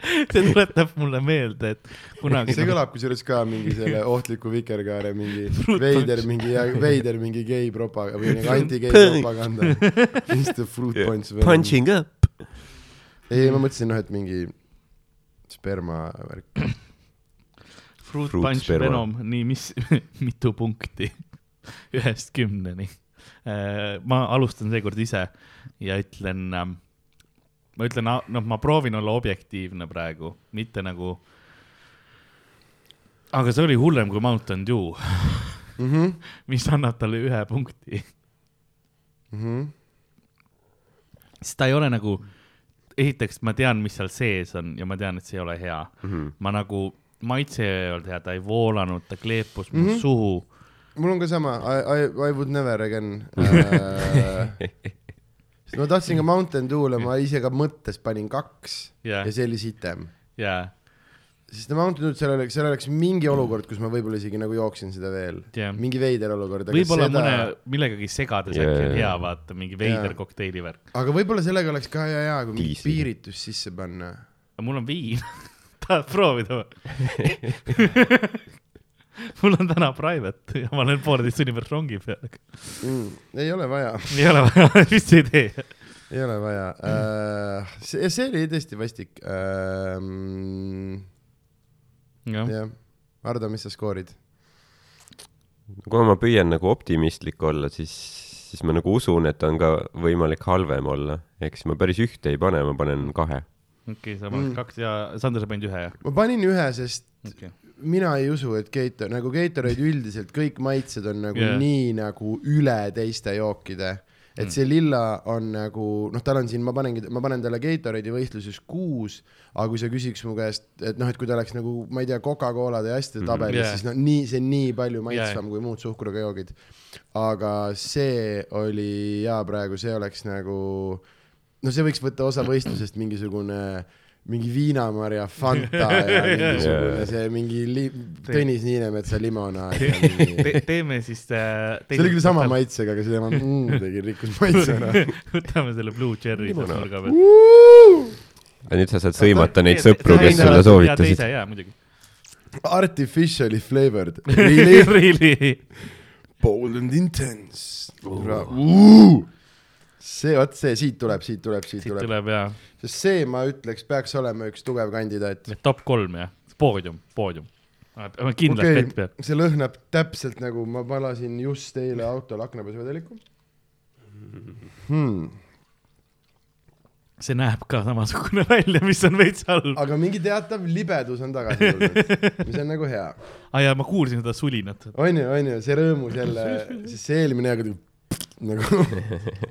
see tuletab mulle meelde , et kunagi
see . kõlab kusjuures ka mingi selle ohtliku vikerkaare mingi veider mingi , veider mingi gei propaganda või nagu anti-gei propaganda . mis ta Fruit Punch Venom .
Punching up .
ei , ma mõtlesin noh , et mingi sperma värk .
Fruit
Fruit
Punch
Sperma.
Venom , nii , mis , mitu punkti ühest kümneni ? ma alustan seekord ise ja ütlen , ma ütlen , noh , ma proovin olla objektiivne praegu , mitte nagu . aga see oli hullem kui Mountain Dew , Mhm. mis annab talle ühe punkti ,
Mhm.
sest ta ei ole nagu , esiteks ma tean , mis seal sees on ja ma tean , et see ei ole hea ma nagu , maitse ei olnud hea , ta ei voolanud , ta kleepus mu mm -hmm. suhu .
mul on ka sama , I , I , I would never again äh, . ma tahtsin ka Mountain Dew'le , ma ise ka mõttes panin kaks
Jah.
ja see oli sitem
jaa ,
sest The Mountain Dew , seal oleks , seal oleks mingi olukord , kus ma võib-olla isegi nagu jooksin seda veel .
Jah.
mingi veider olukord , aga
võib-olla
seda
seda... , mõne , millegagi segades
Jaa,
äkki
jaa,
on hea
jaa.
vaata mingi veider
Jaa.
kokteili värk .
aga võib-olla sellega oleks ka hea , hea , kui mingi
Diisi.
piiritus sisse panna .
aga mul on viin , tahad proovida või ? mul on täna private ja ma olen pooleteist tunni pärast rongi peal .
Mm, ei ole vaja ,
ei ole vaja , vist ei tee .
ei ole vaja uh, . see , see oli tõesti vastik uh, .
jah ,
jah , Ardo , mis sa skoorid ?
kuna ma püüan nagu optimistlik olla , siis , siis ma nagu usun , et on ka võimalik halvem olla . ehk siis ma päris ühte ei pane , ma panen kahe .
okei , sa paned
Mm.
kaks ja Sander , sa panid ühe jah ?
ma panin ühe , sest
okei ,
mina ei usu , et Gator , nagu Gatorade üldiselt kõik maitsed on nagu yeah. Mm.
Jaa.
nii nagu üle teiste jookide . et see lilla on nagu , noh , tal on siin , ma panengi , ma panen talle Gatorade'i võistluses kuus , aga kui sa küsiks mu käest , et noh , et kui ta oleks nagu , ma ei tea , Coca-Colade ja asjade tabelis mm,
Jaa.
yeah. , siis no nii , see on nii palju maitsvam
Jaa.
yeah. kui muud suhkruga joogid . aga see oli jaa , praegu see oleks nagu , no see võiks võtta osa võistlusest mingisugune , mingi viinamarja Fanta ja mingisugune
Jaa.
see mingi li- , Tõnis Niinemetsa limonaad .
Te,
see
teeme siis äh, .
oli küll sama . maitsega , aga see tema mm, tegi rikkus maitse ära .
võtame selle Blue Cherry sealt nurga pealt .
ja nüüd sa saad sõimata neid sõpru , kes sulle soovitasid .
jaa , muidugi .
Artificially flavored , really
Really ?
bold and intense . see , vot see , siit tuleb , siit tuleb , siit
siit
tuleb ,
tuleb jaa ,
sest see , ma ütleks , peaks olema üks tugev kandidaat .
top kolm jah , poodium , poodium . kindlalt
okei
okay. , pett peal .
see lõhnab täpselt nagu ma valasin just eile autol aknapesuvedeliku hmm. .
see näeb ka samasugune välja , mis on veits halb .
aga mingi teatav libedus on tagasi tulnud , mis on nagu hea .
aa Ah jaa , ma kuulsin seda sulinat .
on ju , on ju , see rõõmus jälle , sest see eelmine aeg oli nagu .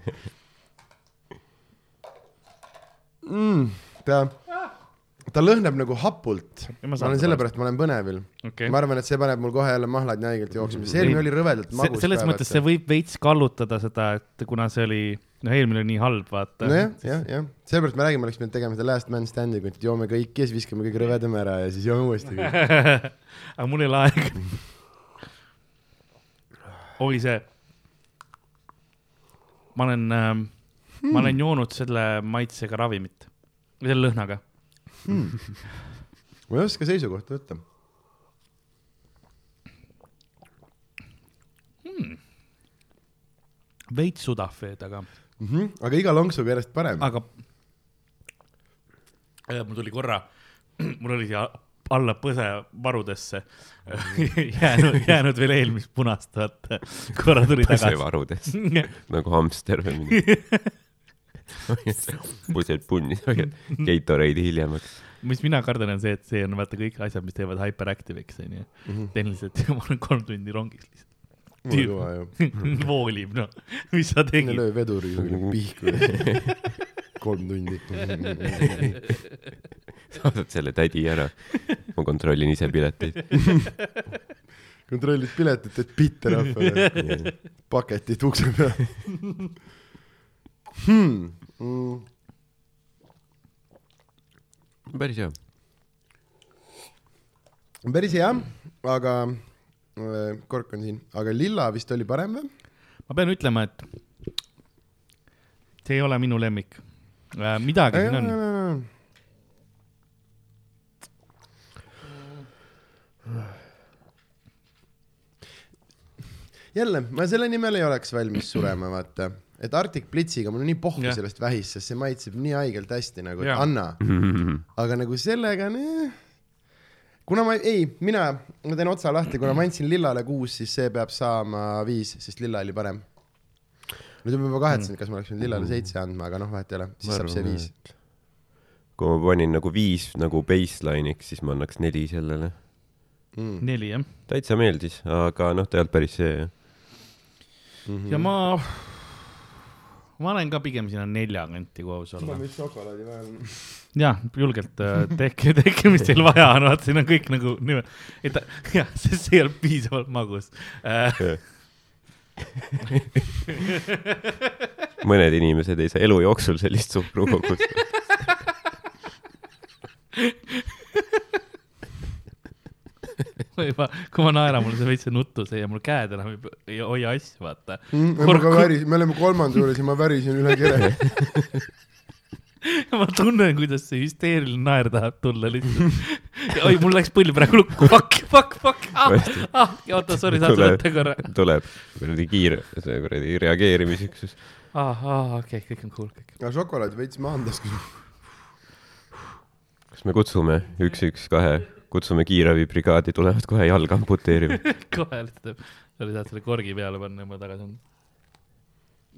Mm, ta , ta lõhnab nagu hapult .
Ja ma
ma
saan
olen
aru.
sellepärast , ma olen põnevil
okei
ma arvan , et see paneb mul kohe jälle mahlad nii haigelt jooksma , see eelmine
Ei.
oli rõvedalt
Se-
magus .
selles mõttes see võib veits kallutada seda , et kuna see oli , noh , eelmine oli nii halb , vaata .
nojah , jah , jah , seepärast me räägime , oleks pidanud tegema seda last man standing ut , et joome kõik ja siis viskame kõige rõvedama ära ja siis joome uuesti kõik .
aga mul ei ole aega . oi , see . ma olen ähm, , ma
Hmm.
olen joonud selle maitsega ravimit , selle lõhnaga .
ma ei oska seisukohta võtta .
veits sudafeed , aga ,
Mhm. aga iga lonksuga järjest parem .
aga . mul tuli korra , mul oli siia alla põse varudesse jäänud , jäänud veel eelmist punast , vaata . korra tuli
puse
tagasi .
varudes nagu hamster või mingi pused punni , Gatorade'i hiljemaks .
mis mina kardan , on see , et see on vaata kõik asjad , mis teevad hyperactive'iks onju mm -hmm. . tehniliselt ma olen kolm tundi rongis
mul on kõva ju .
lihtsalt , voolib noh , mis sa
enne
tegid .
löö veduri kuhugi pihku . kolm tundi .
saadad selle tädi ära . ma kontrollin ise pileteid .
kontrollid piletit , teed pitte rahvale . paketid ukse peal hmm. . Mm.
päris hea .
päris hea , aga äh, kork on siin , aga lilla vist oli parem või ?
ma pean ütlema , et see ei ole minu lemmik . midagi siin on ,
jälle , ma selle nimel ei oleks valmis surema , vaata , et Arctic Blitziga mul on nii pohhu
Jah.
sellest vähist , sest see maitseb nii haigelt hästi nagu , et
Jaa.
anna , aga nagu sellega nii kuna ma ei , mina , ma teen otsa lahti , kuna ma andsin lillale kuus , siis see peab saama viis , sest lilla oli parem . nüüd ma juba kahetsen , kas ma oleks pidanud lillale seitse andma , aga noh , vahet ei ole , siis saab see viis .
kui ma panin nagu viis nagu baseline'iks , siis ma annaks neli sellele .
neli jah .
täitsa meeldis , aga noh , ta ei olnud päris see jah .
ja ma , ma olen ka pigem sinna nelja kanti , kui aus olla .
vist šokolaadi vajan .
jah , julgelt äh, tehke , tehke , mis teil vaja on , vaata siin on kõik nagu niimoodi , et jah , sest see ei olnud piisavalt magus äh, .
mõned inimesed ei saa elu jooksul sellist suhkrukogust .
ma juba , kui ma naeran , mul see veits see nutu see ja mul käed enam ei pö- ei hoia asju , vaata .
Mm, ma ka värisin , me oleme kolmanda juures ja ma värisin üle kere .
ma tunnen , kuidas see hüsteeriline naer tahab tulla lihtsalt . oi , mul läks põll praegu lukku , fuck , fuck , fuck , ah , ah , oota , sorry , saad
Tule-
võtta korra .
tuleb kuradi kiire , see kuradi reageerimisüksus .
ah , ah , okei , kõik on cool , kõik .
aga šokolaad veits maandas .
kas me kutsume üks , üks , kahe , kutsume kiirabibrigaadi , tulevad kohe jalga amputeerima .
kohe lihtsalt , sorry , saad selle korgi peale panna ja ma tagasi annan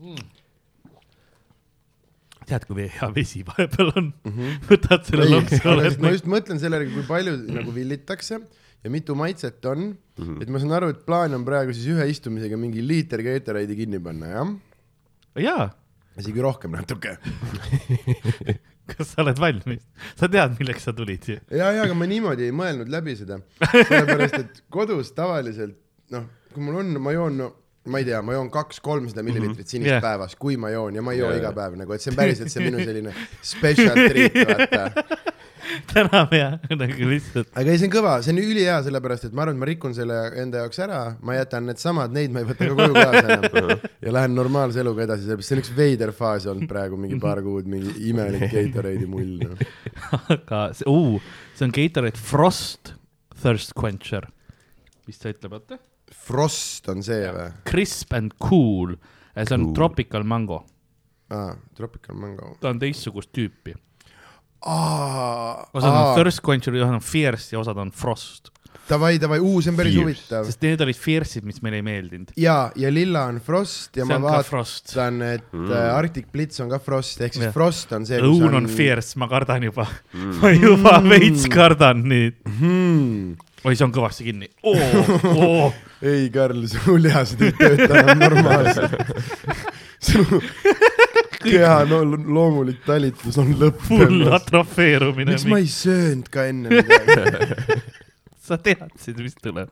mm. . tead , kui vee- hea vesi vahepeal on mm , -hmm. võtad selle lonksu , oled
ma just mõtlen selle järgi , kui palju nagu villitakse ja mitu maitset on mm , -hmm. et ma saan aru , et plaan on praegu siis ühe istumisega mingi liiter Gatorade'i kinni panna , jah ?
jaa ,
isegi rohkem natuke .
kas sa oled valmis ? sa tead , milleks sa tulid ju .
ja , ja , aga ma niimoodi ei mõelnud läbi seda , sellepärast et kodus tavaliselt noh , kui mul on , ma joon no, ma ei tea , ma joon kaks-kolmsada milliliitrit sinist
Jah.
yeah. päevas , kui ma joon ja ma ei joo
Mhm. Jaa,
yeah.
jaa.
iga päev nagu , et see on päriselt see minu selline special treat , vaata .
täname ja nagu lihtsalt
aga ei , see on kõva , see on ülihea , sellepärast et ma arvan , et ma rikun selle enda jaoks ära , ma jätan needsamad , neid ma ei võta ka koju kaasa enam .
Mhm.
ja lähen normaalse eluga edasi , sellepärast see on üks veider faas olnud praegu mingi paar kuud , mingi imelik Gatorade'i mull noh. no. .
aga see uh, , see on Gatorade Frost Thirst Quencher . mis ta ütleb , oota ?
Frost on see või ?
Crisp and cool , see
Cool.
on cool. tropical mango ,
aa , Tropical Mango .
ta on teistsugust tüüpi . osad on
aa ,
Thirst Quencher , osad on Fierce ja osad on Frost ,
davai , davai , uu , see on päris
Fierce.
huvitav .
sest need olid Fierce'id , mis meile ei meeldinud .
ja , ja lilla on Frost ja
see
ma
on ka
vaatan ,
Frost .
et mm. Arctic Blitz on ka Frost , ehk siis
Jah.
Frost on see ,
õun on Fierce , ma kardan juba mm. , ma juba veits kardan nüüd .
hmm.
oi , see on kõvasti kinni oh, . Oh.
ei , Karl , su lihased ei tööta enam normaalselt . su keha no, loomulik talitlus on
full
lõppenud .
atrofeerumine
miks , ma ei söönud ka enne midagi ?
sa teadsid , mis tuleb .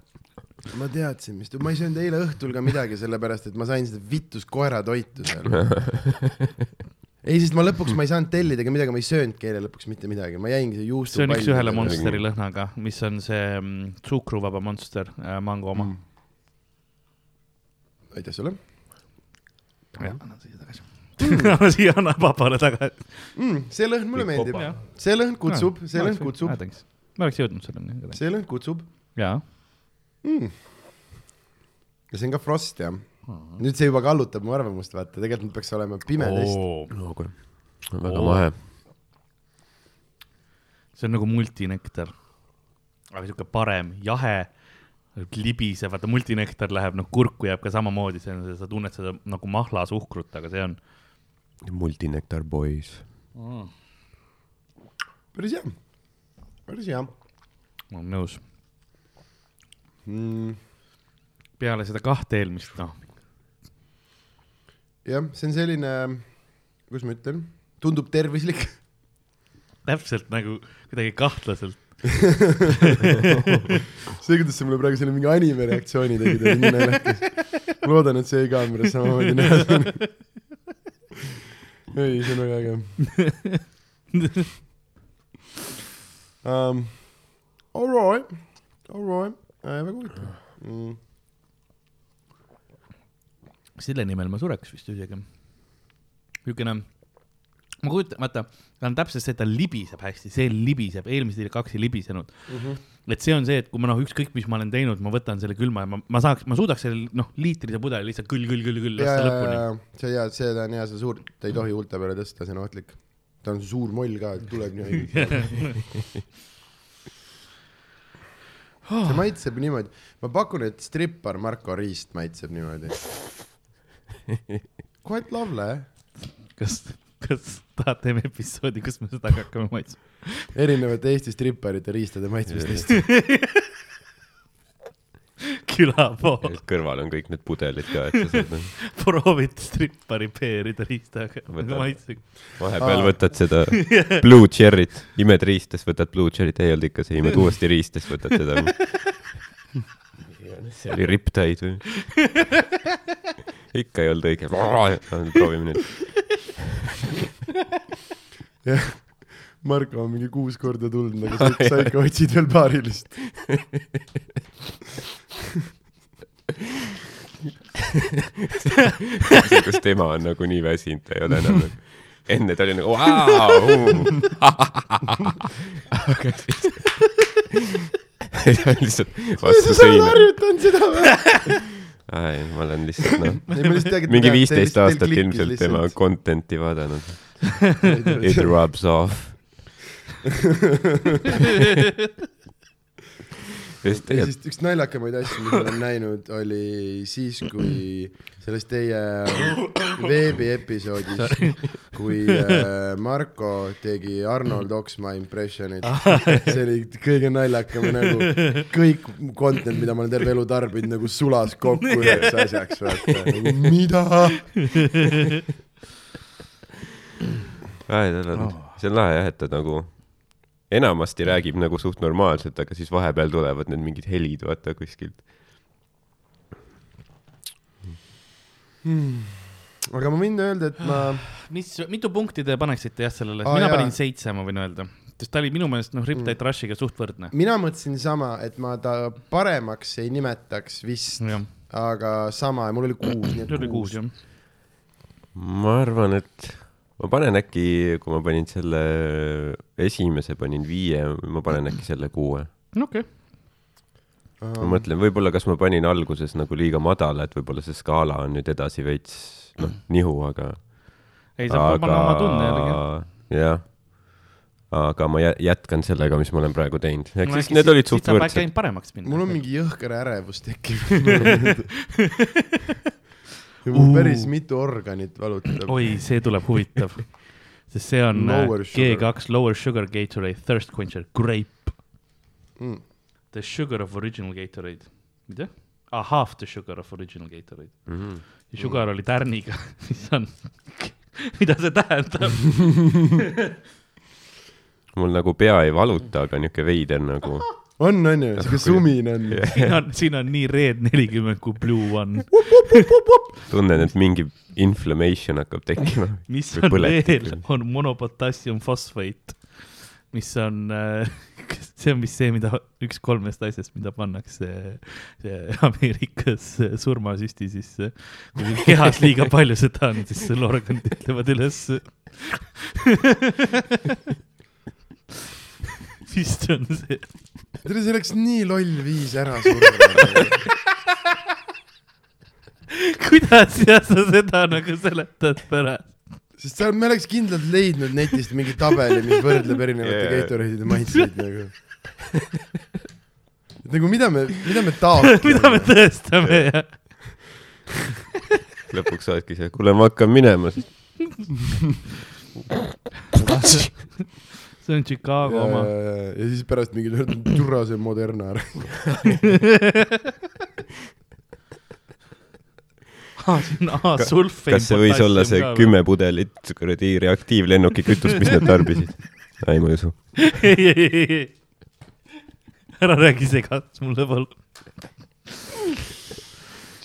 ma teadsin , mis , ma ei söönud eile õhtul ka midagi , sellepärast et ma sain seda vitus koeratoitu seal . ei , sest ma lõpuks , ma ei saanud tellida ka midagi , ma ei söönudki eile lõpuks mitte midagi , ma jäingi see juustu .
see on üks-ühele . Monsteri lõhnaga , mis on see mm, suhkruvaba Monster äh, , mango oma mm. .
aitäh sulle
jah , annan siia tagasi mm. . annan siia , annan vabale tagasi . Ah,
mm, . see lõhn mulle
Pikk
meeldib
kopa. .
see lõhn kutsub , see lõhn kutsub ,
ma oleks jõudnud selleni igatahes .
see lõhn kutsub
jaa ,
mm. . ja see on ka Frost jah .
Mhm.
nüüd see juba kallutab mu arvamust , vaata , tegelikult nüüd peaks olema pimeteist oh. .
see
no kuule , väga
Oo.
mahe .
on nagu multinektar . aga sihuke parem , jahe , libisev , vaata multinektar läheb , noh kurku jääb ka samamoodi , see on , sa tunned seda nagu mahlasuhkrut , aga see on .
multinektar boys .
Mm.
päris hea , päris hea
ma olen nõus .
mm. .
peale seda kahte eelmist , noh ,
jah , see on selline , kuidas ma ütlen , tundub tervislik .
täpselt nagu kuidagi kahtlaselt .
see , kuidas sa mulle praegu selle mingi anime reaktsiooni tegid , oli nii naljakas . ma loodan , et see jäi kaameras samamoodi näha . ei , see on väga äge um, . All right , all right äh, , väga huvitav mm. .
selle nimel ma sureks vist isegi . niisugune , ma kujutan , vaata , ta on täpselt see , et ta libiseb hästi , see libiseb , eelmised kaks ei libisenud mm . -hmm. et see on see , et kui ma noh , ükskõik mis ma olen teinud , ma võtan selle külma ja ma , ma saaks , ma suudaks selle noh , liitrise pudeli lihtsalt küll , küll , küll , küll
ja ,
lasta
ja ,
lõpuni .
ja , see ja , see ta on hea , see suur , ta ei tohi huulte peale tõsta , see on ohtlik . ta on suur moll ka , tuleb nii õigesti . see maitseb niimoodi , ma pakun , et strippar Marko Riist maitseb niimoodi . Quite lovely . eh?
kas , kas tahad , teeme episoodi , kus me seda ka hakkame maitsma ?
erinevate Eesti stripparite riistade maitsmistest .
külapool ,
kõrval on kõik need pudelid ka , et sa saad
proovid strippari peerida riistaga ,
Võtan.
maitsega .
vahepeal võtad seda blue cherry't , imed riistes , võtad blue cherry't , ei olnud ikka see , imed uuesti riistes , võtad seda . see oli riptide või ? ikka ei olnud õige . proovime nüüd .
Marko on mingi kuus korda tulnud , aga sa ikka otsid veel paarilist .
kus tema on nagu nii väsinud , ta ei ole enam nagu... . enne ta oli nagu vau , aga siis ta on lihtsalt
sa oled
vastu seina .
harjutanud seda või ?
ei , ma olen lihtsalt noh ,
ei , ma lihtsalt tean , et
mingi viisteist aastat ilmselt tema content'i vaadanud . It rubs off . ja siis
ja
tegelikult
siis üks naljakamaid asju , mis ma olen näinud , oli siis , kui selles teie veebiepisoodis , kui äh, Marko tegi Arnold Oksmaa impressionit .
Ah.
see oli kõige naljakam nagu kõik content , mida ma olen terve elu tarbinud , nagu sulas kokku üheks asjaks . Nagu, mida ?
Aa, ei, tal on , see on lahe jah , et ta nagu enamasti räägib nagu suht normaalselt , aga siis vahepeal tulevad need mingid helid , vaata kuskilt .
aga ma võin öelda , et ma ,
mis , mitu punkti te paneksite jah sellele ,
Aa,
mina
jaa. Mm.
panin seitse , ma võin öelda , sest ta oli minu meelest noh , Riptide Rushiga suht võrdne .
mina mõtlesin sama , et ma ta paremaks ei nimetaks vist ,
jah ,
aga sama , mul oli kuus , nii
see
et
oli kuus
Mm. kuus .
jah .
ma arvan , et ma panen äkki , kui ma panin selle esimese , panin viie , ma panen äkki selle kuue .
no okei okay. ,
ma mõtlen , võib-olla kas ma panin alguses nagu liiga madala , et võib-olla see skaala on nüüd edasi veits , noh , nihu , aga
ei saa aga... , ma oma tunne jällegi .
jah , aga ma jä- jätkan sellega , mis ma olen praegu teinud , ehk siis need olid suht võrdsed .
ainult paremaks minna .
mul on mingi jõhker ärevus tekib . mul päris mitu organit valutab .
oi , see tuleb huvitav , sest see on äh,
Lower sugar.
G2 Lower Sugar Gatorade Thirst Quencher Grape
Mm.
mm. . The sugar of original Gatorade , mida ? Ah, half the sugar of original Gatorade mm .
Mhm.
-hmm. Sugar mm. oli tärniga , mis on , mida see tähendab ?
mul nagu pea ei valuta , aga niisugune veider nagu
on , on ju , siuke sumin on .
siin on , siin on nii Red nelikümmend kui Blue One ,
tunnen , et mingi inflammation hakkab tekkima .
mis
Või
on
põletik
veel
või? ,
on monopotassiumfosfeet , mis on äh, , see on vist see , mida üks kolmest asjast , mida pannakse see Ameerikas äh, surmasüsti sisse . kui kehas liiga palju seda on , siis sul organid ütlevad üles . vist on see ,
tead , see oleks nii loll viis ära suruda .
kuidas ja sa seda nagu seletad pärast ?
sest seal me oleks kindlalt leidnud netist mingi tabeli , mis võrdleb erinevate
Jaa.
yeah. Gatorade'ide maitseid nagu . et nagu mida me , mida me taotleme ?
mida me tõestame ja
lõpuks oledki see , kuule , ma hakkan minema , siis
see on Chicago oma .
ja siis pärast mingi Jurase Moderna ära .
Ah, A-sulfeid .
kas see võis olla see ? kümme pudelit kuradi reaktiivlennukikütust , mis nad tarbisid ? ei , ma ei usu .
ei , ei , ei , ei . ära räägi segast mulle palun .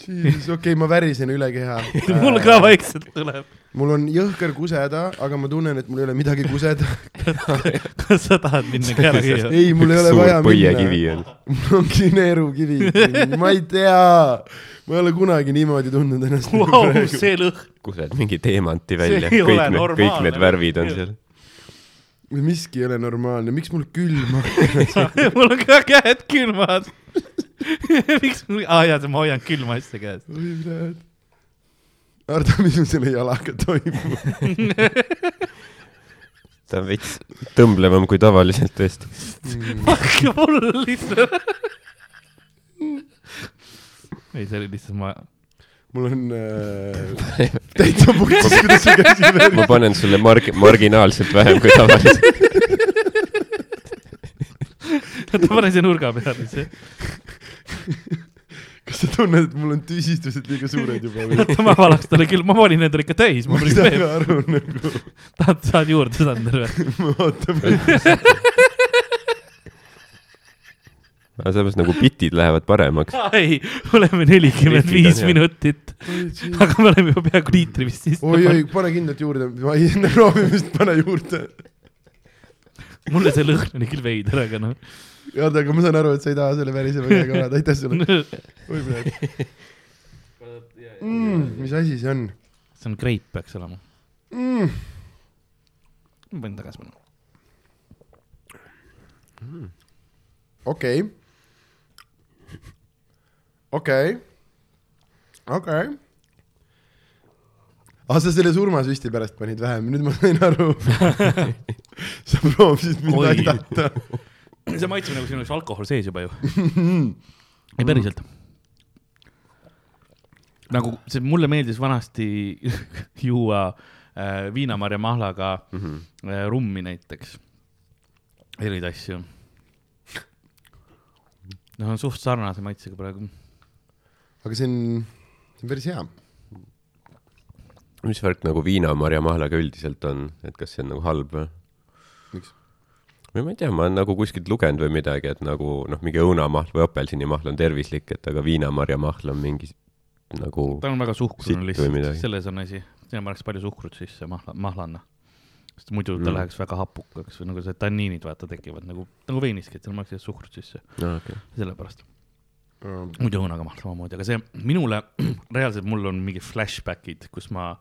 siis okei okay, , ma värisen üle keha .
mul ka vaikselt tuleb .
mul on jõhker kuseda , aga ma tunnen , et mul ei ole midagi kuseda .
kas sa tahad minna kärakeele ?
ei , mul ei ole
suur
vaja
põiekivi
minna .
on .
mul ongi neerukivi , ma ei tea . ma ei ole kunagi niimoodi tundnud ennast nagu
Vau ,
praegu .
see lõhn ,
kused mingi teemanti
ei
välja ,
ole
kõik need , kõik
normaalne.
need värvid on seal .
miski ei ole normaalne , miks mul külm on ?
mul on ka käed külmad . miks mul , aa jaa , ma hoian külma asja käes .
Ardo , mis sul selle jalaga toimub ?
ta on veits tõmblevam kui tavaliselt tõesti .
Fuck , mul on lihtsalt . ei , see oli lihtsalt ma ,
mul on äh, täitsa puksis , kuidas see käsi veel .
ma panen sulle marg- , marginaalselt vähem kui tavaliselt .
oota ma panen siia nurga peale , see .
kas sa tunned , et mul on tüsistused liiga suured juba või ?
oota , ma valaks talle küll , ma panin endale ikka täis , ma
ma ei
olin
saa
veel
ka . aru nagu ,
tahad , saad juurde , Sander või ?
me ootame .
aga samas nagu bitid lähevad paremaks .
ei , oleme nelikümmend
Liitrid
viis
on hea.
minutit ,
Mm.
aga me oleme juba peaaegu liitri vist sisse
oi-oi , pane kindlalt juurde , ma ei , enne proovimist pane juurde .
pannud. mulle see lõhn oli küll veider , aga noh .
oota , aga ma saan aru , et sa ei taha selle värisema käega vaadata , aitäh sulle . oi , kurat . mm, . mis asi see on
see on greip , peaks olema .
mm. ?
ma panin tagasi panna .
okei . okei . okei . aa , Ah, sa selle surmasüsti pärast panid vähem , nüüd ma sain aru . sa proovisid mind
Oi.
aidata .
see maitseb nagu siin oleks alkohol sees juba ju . ei , päriselt . nagu see mulle meeldis vanasti juua äh, viinamarja mahlaga mm
Mhm.
-hmm. äh, rummi näiteks . erinevaid asju . noh , on suht sarnase maitsega praegu .
aga see on , see on päris hea .
mis värk nagu viinamarja mahlaga üldiselt on , et kas see on nagu halb või ?
miks ?
või ma ei tea , ma olen nagu kuskilt lugenud või midagi , et nagu noh , mingi õunamahl või apelsinimahl on tervislik , et aga viinamarjamahl on mingi nagu
ta on väga
Sitt
suhkrune
või
lihtsalt ,
midagi.
selles on asi . sinna pannakse palju suhkrut sisse mahla , mahlanna . sest muidu ta mm.
Mm.
läheks väga hapukaks või nagu see tanniinid vaata tekivad nagu , nagu veiniski , et seal pannakse suhkrut sisse ,
no, . Okay.
sellepärast . muidu õunakamahl samamoodi , aga see minule , reaalselt mul on mingi flashbackid , kus ma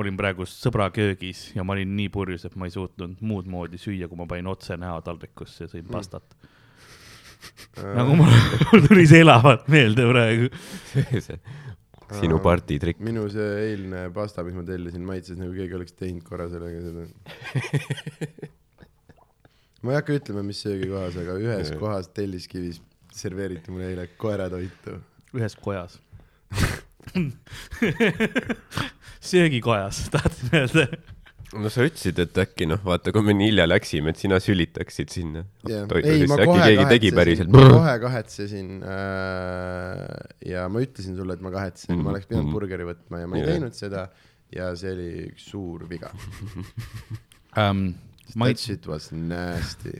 olin praegu sõbra köögis ja ma olin nii purjus , et ma ei suutnud muud moodi süüa , kui ma panin otse näo taldrikusse ja sõin pastat . nagu mul, mul tuli see elavalt meelde praegu .
see sinu partitrikk ,
minu see eilne pasta , mis ma tellisin , maitses nagu keegi oleks teinud korra sellega seda . ma ei hakka ütlema , mis söögikohas , aga ühes kohas Telliskivis serveeriti mulle eile koeratoitu .
ühes kojas . söögikojas , tahtsin öelda .
no sa ütlesid , et äkki noh , vaata , kui me nii hilja läksime , et sina sülitaksid sinna
Jah.
toidu
ei , ma
sisse , äkki
kohe
keegi tegi
kahetsesin , ma
päriselt .
kohe kahetsesin äh, ja ma ütlesin sulle , et ma kahetsesin mm , -hmm. ma oleks pidanud
Mhm.
burgeri võtma ja ma ei
Jah.
yeah. teinud seda ja see oli üks suur viga .
Um, ma
That
ei ,
shit was nasty .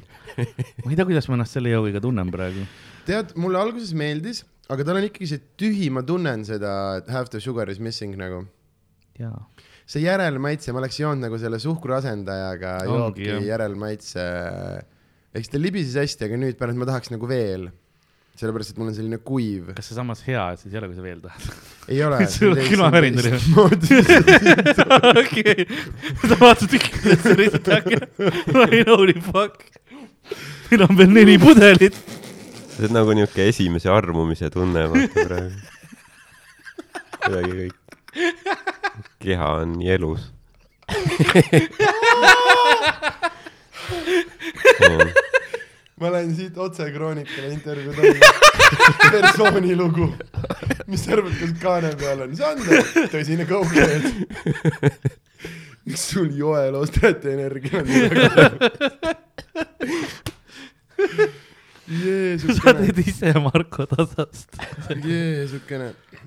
ma ei tea , kuidas ma ennast selle joogiga tunnen praegu .
tead , mulle alguses meeldis , aga tal on ikkagi see tühi , ma tunnen seda et half the sugar is missing nagu .
jaa .
see järelmaitse , ma oleks joonud nagu selle suhkruasendajaga
Ongi,
jooki
jah.
järelmaitse . eks ta libises hästi , aga nüüd pärast ma tahaks nagu veel . sellepärast , et mul on selline kuiv .
kas see samas hea , et siis ei ole , kui sa veel tahad ?
ei ole .
Sul külmavärin tuli või? okei , ta vaatas ikka , et see on lihtsalt äge . I know the fuck . meil on veel neli pudelit .
see on nagu niisugune esimese armumise tunne , vaata praegu . kuidagi kõik , keha on nii elus .
ma lähen siit otse Kroonikale intervjuu tõmbama . persooni lugu . mis sa arvad , kas kaane peal on ? see on ta- tõsine kaugkeel . miks sul joel ostjate energia on ?
sa
Jeesukene ,
teed ise Marko tasast .
Jeesukene ,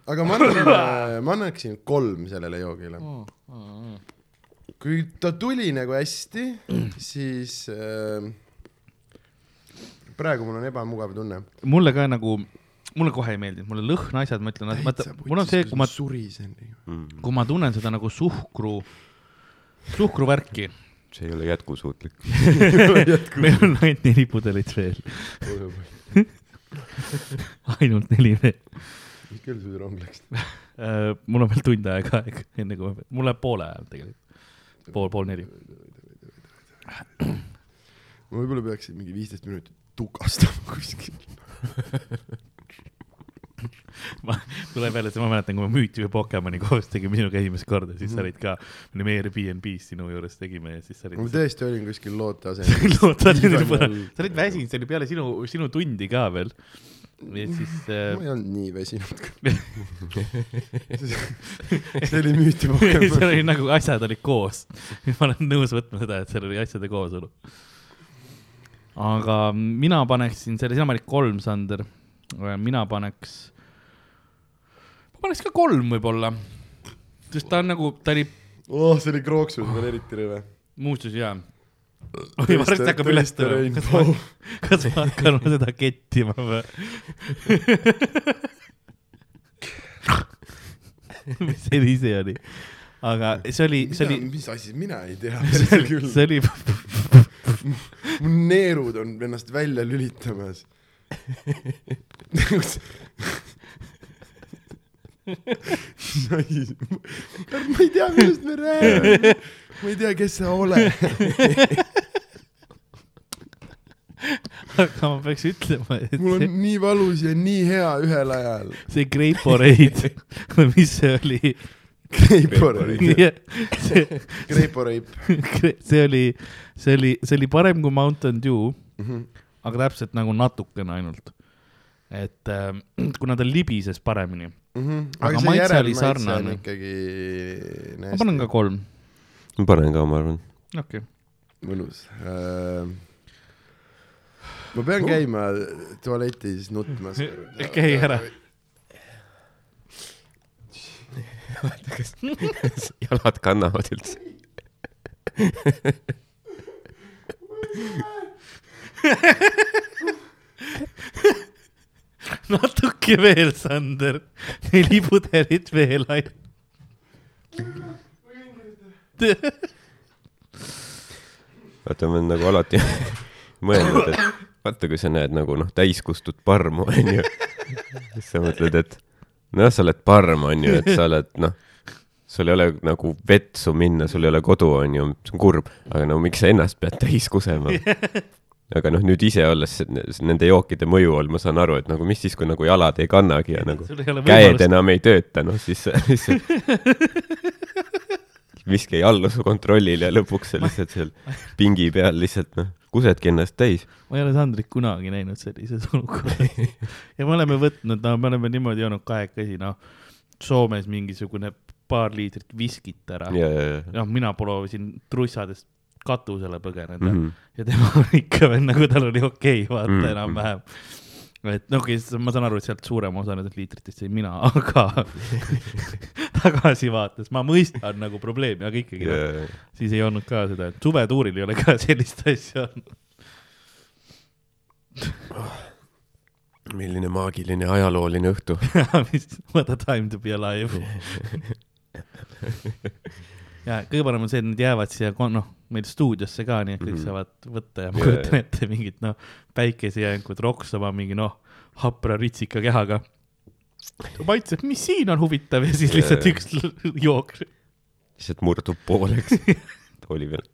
aga ma annan , ma annaksin kolm sellele joogile .
Mm,
kui ta tuli nagu hästi , siis äh, praegu mul on ebamugav tunne .
mulle ka nagu , mulle kohe ei meeldinud , mulle lõhna asjad , ma ütlen , vaata , mul on see , kui ma ,
surisen .
Mm,
kui ma tunnen seda nagu suhkru , suhkruvärki .
see ei ole jätkusuutlik .
meil on ainult neli pudelit veel , ainult neli veel .
mis kell sul rong läks ?
mul on veel tund aega aega , enne kui ma , mul läheb poole ajal tegelikult , pool , pool neli .
ma võib-olla peaksin mingi viisteist minutit tukastama kuskil .
tuleb jälle see , ma mäletan , kui me Müüti või Pokemoni koos tegime sinuga esimest korda , siis sa olid ka , me olime Airbnb-s sinu juures tegime ja siis sa
ma
olid .
tõesti olin kuskil loote asemel .
sa
Igal juhul-
olid väsinud , see oli peale sinu , sinu tundi ka veel . ja siis
ma
äh,
ei olnud nii väsinud . see oli müüti
seal
puhkemas .
oli nagu asjad olid koos . ma olen nõus võtma seda , et seal oli asjade koosolu . aga mina paneksin selle , sina panid kolm , Sander . mina paneks , ma paneks ka kolm võib-olla , sest ta on nagu , ta oli
oh , see oli krooksus veel eriti rõve .
muuseas jaa . oi , varsti hakkab üles tulema . kas ma hakkan seda kettima või ? mis see ise oli ? aga see oli , see oli ,
mis asi , mina ei tea .
see oli , see oli ,
mu neerud on ennast välja lülitamas . ma ei tea , millest me räägime . ma ei tea , kes sa oled .
aga ma peaks ütlema , et
mul
see,
on nii valus ja nii hea ühel ajal .
see Grape-Raid või mis see oli ,
Kreiporeip .
see ,
Kreiporeip .
see oli , see oli , see oli parem kui Mountain Dew , aga täpselt nagu natukene ainult . et äh, kuna ta libises paremini , Aga
see
maitse oli
järelmaitse Mhm. on
sarnane.
ikkagi .
ma panen ka . kolm ,
ma panen ka , ma arvan .
okei okay. .
mõnus . ma pean käima tualetis nutmas .
käi ära .
jalad kannavad üldse .
natuke veel , Sander , neli pudelit veel ainult .
vaata , ma olen nagu alati mõelnud , et vaata , kui sa näed nagu noh , täiskustut parmu , onju . siis sa mõtled , et nojah , sa oled parm , onju , et sa oled noh , sul ei ole nagu vetsu minna , sul ei ole kodu , onju , see on kurb , aga no miks sa ennast pead täis kusema ? aga noh , nüüd ise olles se- nende jookide mõju all , ma saan aru , et nagu mis siis , kui nagu jalad ei kannagi ja nagu
Sul ei ole
käed
võimalust.
enam ei tööta , noh siis sa lihtsalt miski ei allu su kontrollile ja lõpuks sa lihtsalt seal pingi peal lihtsalt noh , kusedki ennast täis .
ma ei ole Sandrit kunagi näinud sellises olukorras ja me oleme võtnud , no me oleme niimoodi joonud kahekesi , noh Soomes mingisugune paar liitrit viskit ära .
ja , ja , ja .
noh , mina proovisin trussadest katusele põgeneda mm -hmm.
Mhm.
ja tema on ikka veel nagu tal oli okei okay, , vaata mm
Mhm.
-hmm. enam-vähem . et no okei okay, , ma saan aru , et sealt suurem osa nendest liitritest jäin mina , aga tagasi vaates ma mõistan nagu probleemi , aga ikkagi
ja
yeah. , siis ei olnud ka seda , et suvetuuril ei ole ka sellist asja olnud .
milline maagiline ajalooline õhtu .
What a time to be alive . ja kõige parem on see , et nad jäävad siia , noh , meil stuudiosse ka , nii et kõik
Mhm.
saavad võtta ja ma
Jaa,
kujutan
jaa.
ette mingit , noh , päikesejäänikud roksama mingi , noh , hapra ritsika kehaga . maitseb , mis siin on huvitav ja siis
Jaa,
lihtsalt
jaa.
üks l- jook .
lihtsalt murdub pooleks . oli veel .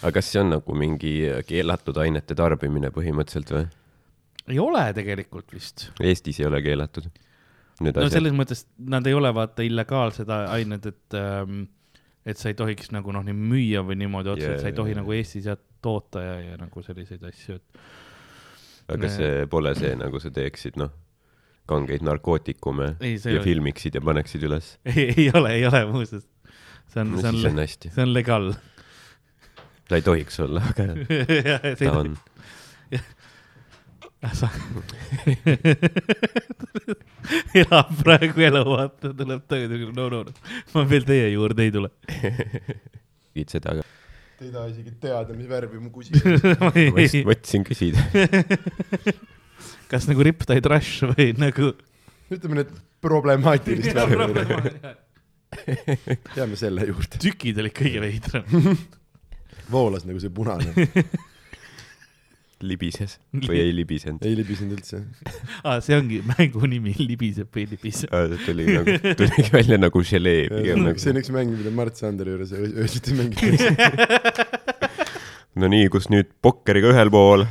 aga kas see on nagu mingi keelatud ainete tarbimine põhimõtteliselt või ?
ei ole tegelikult vist .
Eestis ei ole keelatud ? Need
no
asjad .
selles mõttes nad ei ole vaata illegaalsed a- ained , et ähm, , et sa ei tohiks nagu noh , nii müüa või niimoodi otseselt yeah, , sa ei
Jaa,
tohi
jaa,
yeah. nagu Eestis ja toota ja , ja nagu selliseid asju , et
aga see pole see , nagu sa teeksid , noh , kangeid narkootikume
Ei, see ei
ja
ole-
filmiksid ja paneksid üles .
ei, ei ole , ei ole muuseas . see on ,
no
see
siis on
on ,
hästi .
see on legal .
ta ei tohiks olla , aga ta on .
elab praegu elu , vaata , tuleb tagasi , no no no , ma veel teie juurde ei tule .
tegid seda , aga
Te ei taha isegi teada , mis värvi mu kusi on .
ma
ma
ei
just , mõtlesin küsida .
kas nagu Riptide Rush või nagu .
ütleme need problemaatilised värvid . jääme selle juurde .
tükid olid kõige veidram .
voolas nagu see punane .
libises või ei libisenud ?
ei libisenud üldse .
ah, . see ongi mängu nimi , libiseb või ei libise .
tuli nagu , tuli välja nagu želee
see
pigem nagu .
on üks mäng , mida Mart Sanderi juures öö- öösiti mängitakse .
no nii , kus nüüd pokkeriga ühel pool .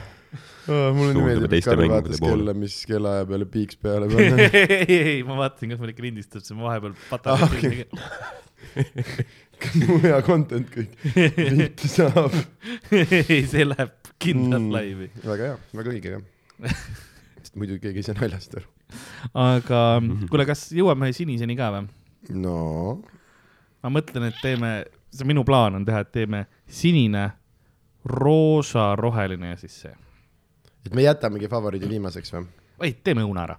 mulle nii
Suundume
meeldib , et
teiste
Karl
mängude
vaatas
poole.
kella , mis kellaaja peale piiks peale
ei ,
panna .
ei , ei , ma vaatasin , kas mul ikka lindistab , siis ma vahepeal
Ah,
patakas
okei. mu hea content kõik . linki saab .
ei , see läheb kindlalt
Mm.
mm. laivi .
väga hea , väga õige jah . sest muidu keegi ei saa naljast aru .
aga kuule , kas jõuame siniseni ka või ?
no ,
ma mõtlen , et teeme , see minu plaan on teha , et teeme sinine , roosa , roheline ja siis see .
et me jätamegi favoriidi viimaseks või ?
ei , teeme õuna ära .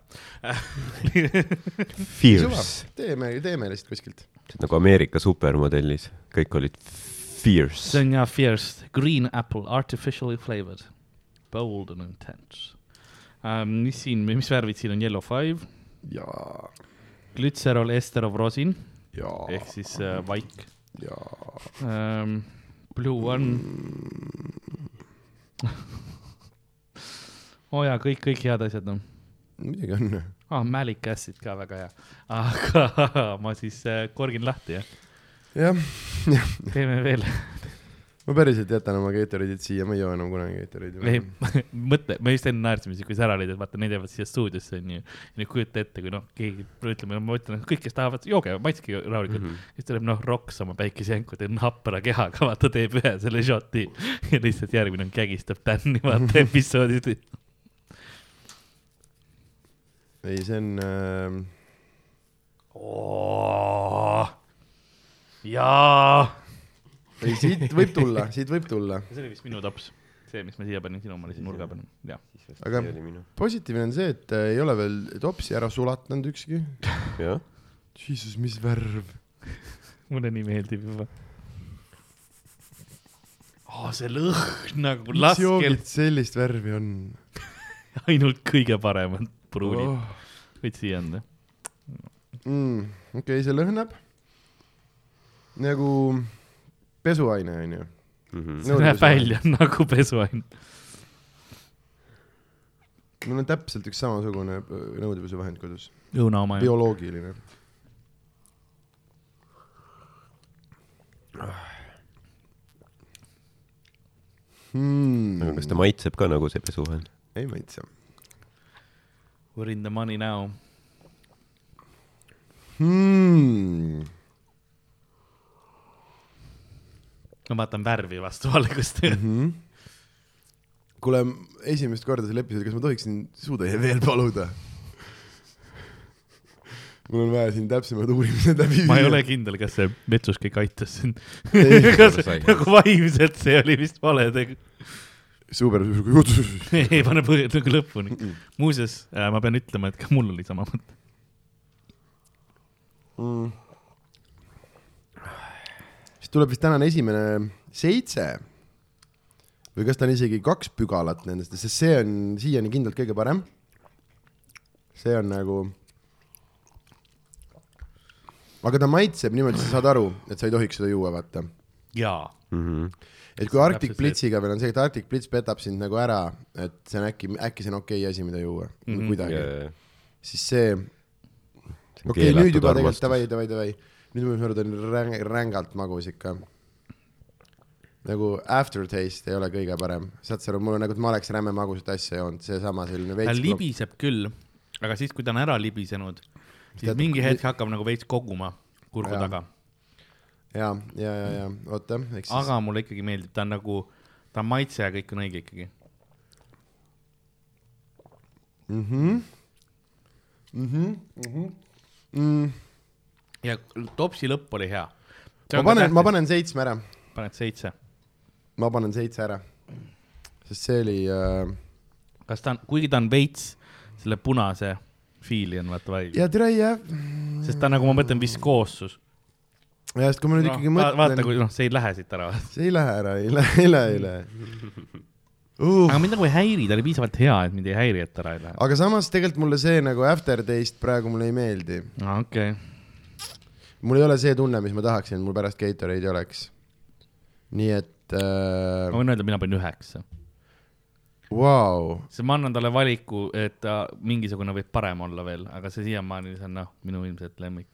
Fierce ,
teeme , teeme lihtsalt kuskilt .
nagu Ameerika supermodellis , kõik olid
see
fierce .
on ja Fierce Green Apple Artificially Flavored , Bold and Intense um, . mis siin , mis värvid siin on , Yellow Five ,
jaa ,
glütserol , esterov , rosin
jaa
ehk , siis uh, vaik
jaa .
um, , Blue One . oo oh jaa , kõik , kõik head asjad on .
muidugi on .
aa , Malik Acid ka väga hea . aga ma siis äh, korgin lahti ja
jah ,
teeme veel
ma päriselt jätan oma Gatorade'id siia , ma ei joo enam kunagi
ei
Gatorade'i .,
mõtle , me just enne naersime siin , kui sa ära lõid , et vaata , need jäävad siia stuudiosse onju . ja nüüd kujuta ette , kui noh , keegi , ütleme , ma ütlen , kõik , kes tahavad , jooge , maitske rahulikult mm . -hmm. siis tuleb noh , Roks oma päikesejänku , teeb hapra kehaga , vaata , teeb ühe selle šoti ja lihtsalt järgmine on kägistab tänni , vaata episoodid .
ei , see on äh, ,
jaa .
ei siit võib tulla , siit võib tulla .
see oli vist minu taps , see , mis ma siia panin , sinu oma lihtsalt nurga panin , jah .
Aga- positiivne on see , et äh, ei ole veel topsi ära sulatanud ükski .
jah ,
Jesus , mis värv .
mulle nii meeldib juba . Oh, see lõhn nagu laskel
joogid sellist värvi on
ainult kõige paremad pruunid
oh. ?
oh. , võid siia anda .
mm, . okei okay, , see lõhnab nagu pesuaine onju .
Mhm.
Mm.
see näeb . välja nagu pesuain .
mul on täpselt üks samasugune öö, nõudepesuvahend kodus ,
õuna oma ju .
bioloogiline .
aga
Mm.
kas ta maitseb ka nagu see pesuvahend ?
ei maitse
We're in the money now .
mm. .
ma vaatan värvi vastu valgust .
-hmm. kuule , esimest korda selle episoodi , kas ma tohiksin suutäie veel paluda ? mul on vaja siin täpsemad uurimised läbi
ma ei ole kindel , kas see vetsus kõik aitas sind .
Ei,
kas
sai.
nagu vaimselt see oli vist vale tegu .
super , kutsus .
ei pane põhjendusega lõpuni . muuseas , ma pean ütlema , et ka mul oli sama mõte .
siis tuleb vist tänane esimene seitse või kas ta on isegi kaks pügalat nendest , sest see on siiani kindlalt kõige parem . see on nagu . aga ta maitseb niimoodi , sa saad aru , et sa ei tohiks seda juua , vaata
jaa .
Mhm.
et kui
See on
Arctic
täpselt see,
Blitziga veel on see , et Arctic Blitz petab sind nagu ära , et see on äkki , äkki see on okei asi , mida juua
Mhm.
mm -hmm. kuidagi yeah. , siis see , okei okay, nüüd juba tegelikult davai , davai , davai , nüüd ma saan aru , ta on ränk, rängalt magus ikka . nagu aftertaste ei ole kõige parem , saad sa aru , mul on nagu , et ma oleks räme magusat asja joonud , seesama selline
ta
veits .
Äh, libiseb küll , aga siis , kui ta on ära libisenud , siis
Tead,
mingi
kui-
hetk hakkab nagu veits koguma kurgu
Jaa.
taga
ja , ja , ja , ja oota , eks siis .
aga mulle ikkagi meeldib , ta on nagu , ta on maitse ja kõik on õige ikkagi .
Mhm. Mm.
ja topsi lõpp oli hea .
ma panen , ma . panen seitsme ära ,
paned seitse .
ma panen seitse ära , sest see oli äh,
kas ta on , kuigi ta on veits selle punase fiili on vaata vaid ,
ja tere jah ,
sest ta on nagu ma mõtlen viskoossus .
ja sest kui ma nüüd no, ikkagi mõtlen .
vaata , kui noh , see ei lähe siit ära .
see ei lähe ära , ei lähe , ei lähe , ei lähe uh, .
aga mind nagu ei häiri , ta oli piisavalt hea , et mind ei häiri , et ära ei lähe .
aga samas tegelikult mulle see nagu aftertaste praegu mulle ei meeldi .
Ah, okei ,
mul ei ole see tunne , mis ma tahaksin , et mul pärast Gatorade'i oleks . nii et
ma
äh, ,
võin öelda , mina panin üheksa ,
vau ,
sest ma annan talle valiku , et ta mingisugune võib parem olla veel , aga see siiamaani , see on noh , minu ilmselt lemmik .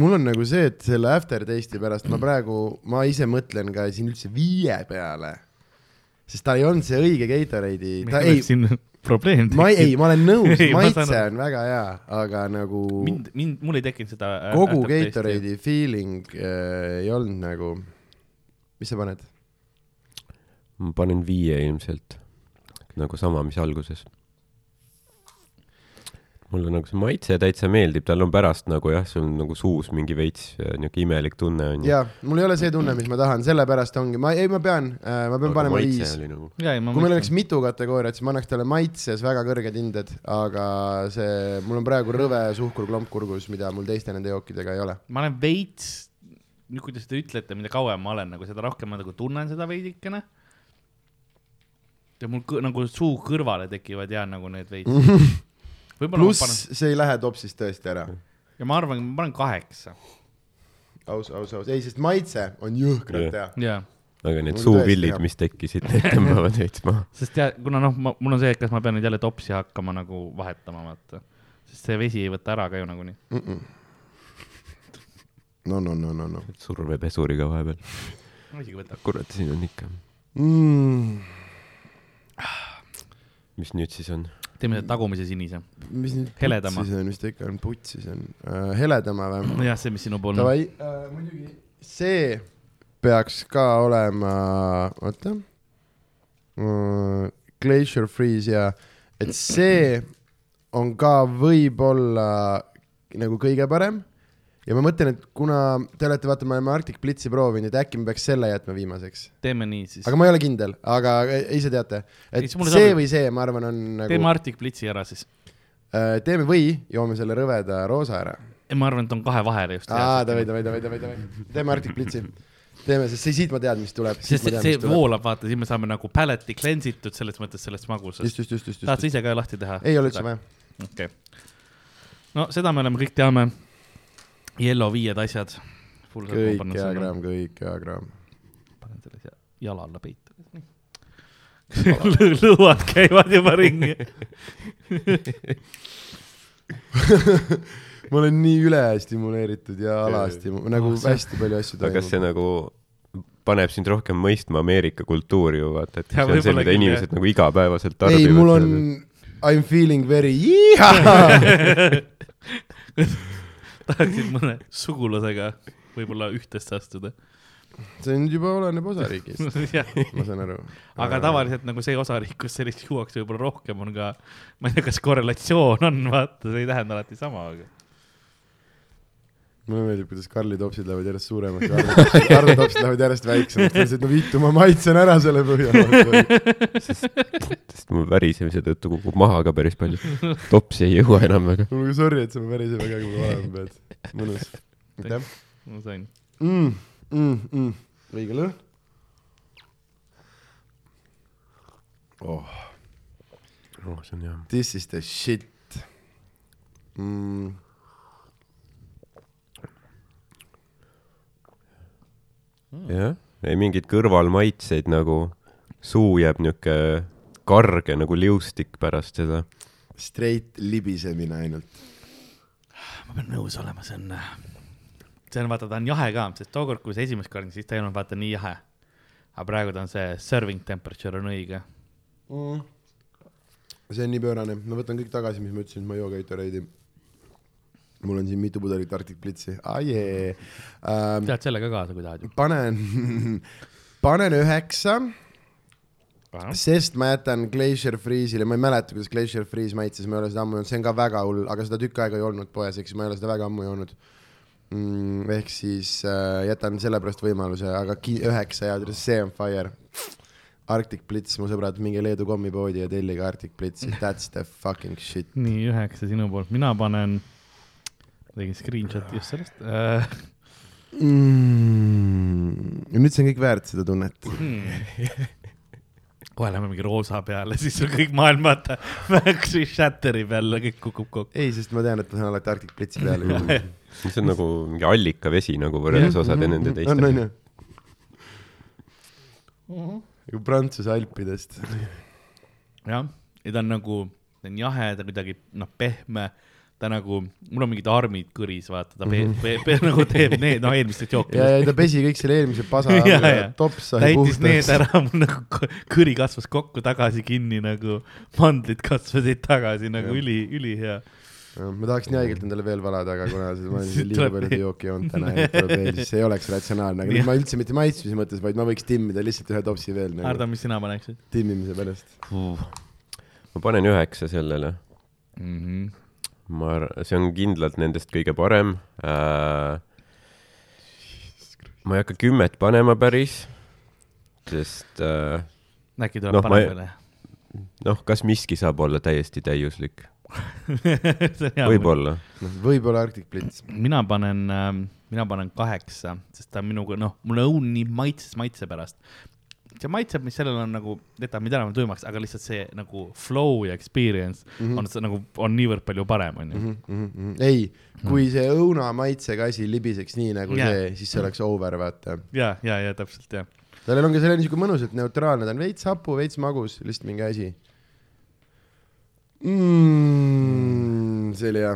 mul on nagu see , et selle aftertaste'i pärast ma praegu , ma ise mõtlen ka siin üldse viie peale . sest ta ei olnud see õige Gatorade'i , ta ei ,
siin probleem
ma ei , ei , ma olen nõus
Ei, , ma saan
maitse
aru.
on väga hea , aga nagu
mind , mind , mul ei tekkinud seda . äh,
kogu Gatorade'i feeling äh, ei olnud nagu , mis sa paned ?
ma panen viie ilmselt , nagu sama , mis alguses . mulle nagu see maitse täitsa meeldib , tal on pärast nagu jah , sul on nagu suus mingi veits äh, niuke imelik tunne on ju .
jaa , mul ei ole see tunne , mis ma tahan , sellepärast ongi , ma , ei , ma pean äh, , ma pean panema viis .
oli nagu ,
ja , ja ma
kui meil oleks . mitu kategooriat , siis ma annaks talle maitses väga kõrged hinded , aga see , mul on praegu rõve suhkurklomp kurgus , mida mul teiste nende jookidega ei ole .
ma olen veits , nüüd kuidas te ütlete , mida kauem ma olen nagu seda rohkem ma nagu tunnen seda veidikene . ja mul kõ, nagu suu kõrvale tekivad ja nagu need veits . võib-olla ma panen
pluss see ei lähe topsist tõesti ära .
ja ma arvan , ma panen kaheksa
aus , aus , aus , ei , sest maitse on jõhkralt hea .
ja
aga need
Mul
suuvillid
tõesti ,
mis tekkisid , need tõmbavad veits maha .
sest ja kuna noh , mul on see , et kas ma pean nüüd jälle topsi hakkama nagu vahetama , vaata . sest see vesi ei võta ära ka ju nagunii .
no , no , no , no , no
surve pesuriga vahepeal .
muidugi võtab .
kurat , siin on ikka .
mm, .
mis nüüd siis on ?
teeme selle tagumise sinise .
mis nüüd
Heledama.
putsis on , mis ta ikka on , putsis on uh, , heledama või ?
nojah , see , mis sinu pool on .
Davai uh, , muidugi see peaks ka olema , oota uh, , Glacier Freeze ja , et see on ka võib-olla nagu kõige parem . ja ma mõtlen , et kuna te olete , vaata , me oleme Arctic Blitzi proovinud , et äkki me peaks selle jätma viimaseks .
teeme nii siis .
aga ma ei ole kindel , aga ise teate , et
Siis mulle
see
sobib.
või see , ma arvan , on
teeme
nagu ,
Arctic Blitzi ära siis .
teeme või joome selle rõveda roosa ära .
ma arvan , et on kahe vahele just .
aa , davai , davai , davai , davai , davai , teeme Arctic Blitzi . teeme , sest see- siit ma tean , mis tuleb .
sest see, see . voolab , vaata , siis me saame nagu paletti klensitud selles mõttes sellest magusast .
just , just , just , just ,
tahad
just .
sa ise ka lahti teha ?
ei ole üldse . vaja .
okei okay. . no seda me oleme , kõik teame . Yellow viied asjad .
kõik hea . kraam , kõik hea kraam .
panen selle siia jala alla peitu . lõuad käivad juba ringi .
ma olen nii üle stimuleeritud ja alasti , nagu
Oh, see-
hästi palju asju
aga kas see
toimub .
nagu paneb sind rohkem mõistma Ameerika kultuuri ju vaata , et
Ja
see on see ,
võib-olla
mida
küll,
inimesed nagu igapäevaselt
ei ,
tarbivad .
mul on , I m feeling very yeah .
tahaksid mõne sugulasega võib-olla ühtesse astuda .
see nüüd juba oleneb osariigist ,
aga
ma saan aru .
tavaliselt nagu see osariik , kus sellist juuakse võib-olla rohkem on ka , ma ei tea , kas korrelatsioon on , vaata , see ei tähenda alati sama , aga .
mulle meeldib , kuidas Karli topsid lähevad järjest suuremaks ja Ardo- Ardo topsid lähevad järjest väiksemaks , ta ütles , et no vittu , ma maitsen ära selle põhja .
sest mu värisemise tõttu kukub maha ka päris palju . topsi ei jõua enam väga .
kuulge , sorry , et sa mu päris ei väga kui valem pead . mõnus . aitäh
ma sain .
mm, . Mm, mm. õige lõhn oh, .
oo , Oh, see on hea .
This is the shit mm. . Hmm.
jah , ei mingeid kõrvalmaitseid nagu , suu jääb niuke karge nagu liustik pärast seda .
Straight libisemine ainult .
ma pean nõus olema , see on , äh, see on vaata , ta on jahe ka , sest tookord , kui see esimest korda , siis ta ei olnud vaata nii jahe . aga praegu ta on see serving temperature on õige .
Mm. see on nii pöörane , ma võtan kõik tagasi , mis ma ütlesin , ma ei joo Gatorade'i . mul on siin mitu pudelit Arctic Blitzi ah, , jee ähm, .
tead selle ka kaasa , kui tahad ju .
panen , panen üheksa , sest ma jätan Glacier Freeze'ile , ma ei mäleta , kuidas Glacier Freeze maitses , ma ei ole seda ammu joonud , see on ka väga hull , aga seda tükk aega ei olnud poes , ehk siis ma ei ole seda väga ammu joonud mm, . ehk siis äh, jätan sellepärast võimaluse , aga ki- üheksa ja see on fire . Arctic Blitz , mu sõbrad , minge Leedu kommipoodi ja tellige Arctic Blitzi , that's the fucking shit .
nii , üheksa sinu poolt , mina panen , tegin screenshot'i just sellest äh, .
Mm. ja nüüd see on kõik väärt seda tunnet .
Hmm. kohe läheme mingi roosa peale , siis on kõik maailm , vaata , Maxi Shatteri peal kõik kukub kokku .
ei , sest ma tean , et ma saan alati Arctic Blitzi peale juua .
see on nagu mingi allikavesi nagu võrreldes
Mhm.
osade
on ,
nende
on
teistega .
ju . nagu Prantsuse alpidest .
jah , ja ta on nagu , ta on jahe , ta on kuidagi noh , pehme , ta nagu , mul on mingid armid kõris , vaata , ta pe- ,
Mhm.
pe- , pe- nagu teeb need , no eelmistest
ja ,
jookidest .
ja ta pesi kõik selle eelmise pasa
Ja,
ära
ja. ,
tops sai
täitis need
puhtaks .
ära , mul nagu kõ- kõri kasvas kokku tagasi kinni nagu , mandlid kasvasid tagasi nagu üli , ülihea .
ma tahaks nii haigelt endale veel valada , aga kuna see- ma olen
Siit
siin liiga
tuleb
palju
veel.
jooki joonud täna ja tuleb veel , siis see ei oleks ratsionaalne , aga
Jah.
nüüd ma üldse mitte maitsmise mõttes , vaid ma võiks timmida lihtsalt ühe topsi veel
Ardo ,
nagu
mis sina paneksid
timmimise pärast .
ma panen üheksa sellele .
mm ? -hmm.
Mhm. ma arvan , see on kindlalt nendest kõige parem äh, . ma ei hakka kümmet panema päris , sest äh,
äkki tuleb
Noh,
no,
ma ei-
paremale
noh , kas miski saab olla täiesti täiuslik ?
ei...
võib-olla .
noh , võib-olla Arctic Blitz .
mina panen , mina panen kaheksa , sest ta on minuga , noh , mulle õun nii maitses maitse pärast . see maitseb , mis sellel on nagu , jätab mind enam tuimaks , aga lihtsalt see nagu flow ja experience
Mhm.
mm -hmm. on see nagu , on niivõrd palju parem , onju .
Mhm, ei , kui
Mhm.
see õunamaitsega asi libiseks nii nagu
Jaa.
see , siis see oleks over , vaata .
ja , ja , ja täpselt ja .
tal on ka selline niisugune mõnus , et neutraalne , ta on veits hapu , veits magus , lihtsalt mingi asi mm, . see oli hea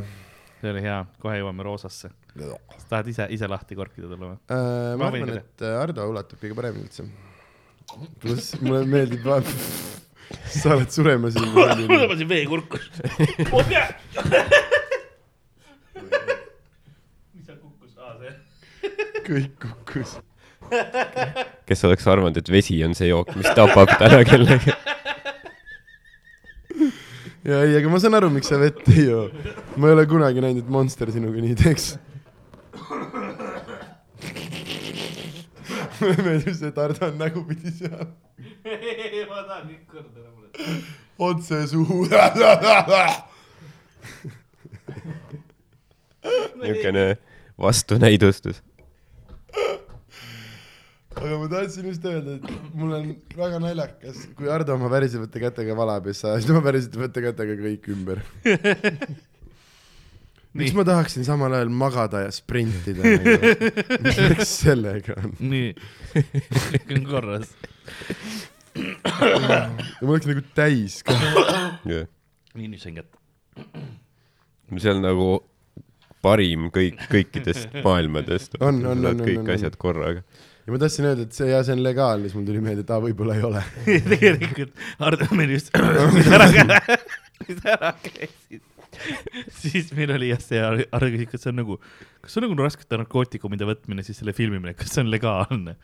see oli hea , kohe jõuame roosasse .
äh, .
kas tahad ise , ise lahti korkida talle või ?
ma
Ma võin
arvan ,
ka
et äh, Ardo ulatab kõige paremini üldse . pluss mulle meeldib vaat- , sa oled suremas .
ma panin vee kurku . mis seal kukkus ? aa , see .
kõik kukkus .
kes oleks arvanud , et vesi on see jook , mis tapab täna kellegi .
ja ei , aga ma saan aru , miks sa vett ei joo . ma ei ole kunagi näinud , et Monster sinuga nii teeks . mulle meeldib see , et Ardo on nägupidi seal
ma tahan kõik korda ära mulle .
otse suhu .
niisugune vastunäidustus .
aga ma tahtsin just öelda , et mul on väga naljakas , kui Ardo oma värisevate kätega valab ja sa ajad oma värisevate kätega kõik ümber . miks ma tahaksin samal ajal magada ja sprintida ? miks sellega on ?
nii , kõik on korras .
ja ma oleks nagu täis ka .
nii , nüüd sain kätte .
see on nagu parim kõik , kõikidest maailmadest .
On, on, on, on,
kõik
on, on.
asjad korraga .
ja ma tahtsin öelda , et see ja see on legaalne , siis mul tuli meelde , et aa , võib-olla ei ole .
tegelikult Hardo meil just , kui sa ära käi- , kui sa ära käisid , siis meil oli jah see , Hardo küsis , kas see on nagu , kas see on nagu raskete narkootikumide võtmine , siis selle filmimine , kas see on legaalne ?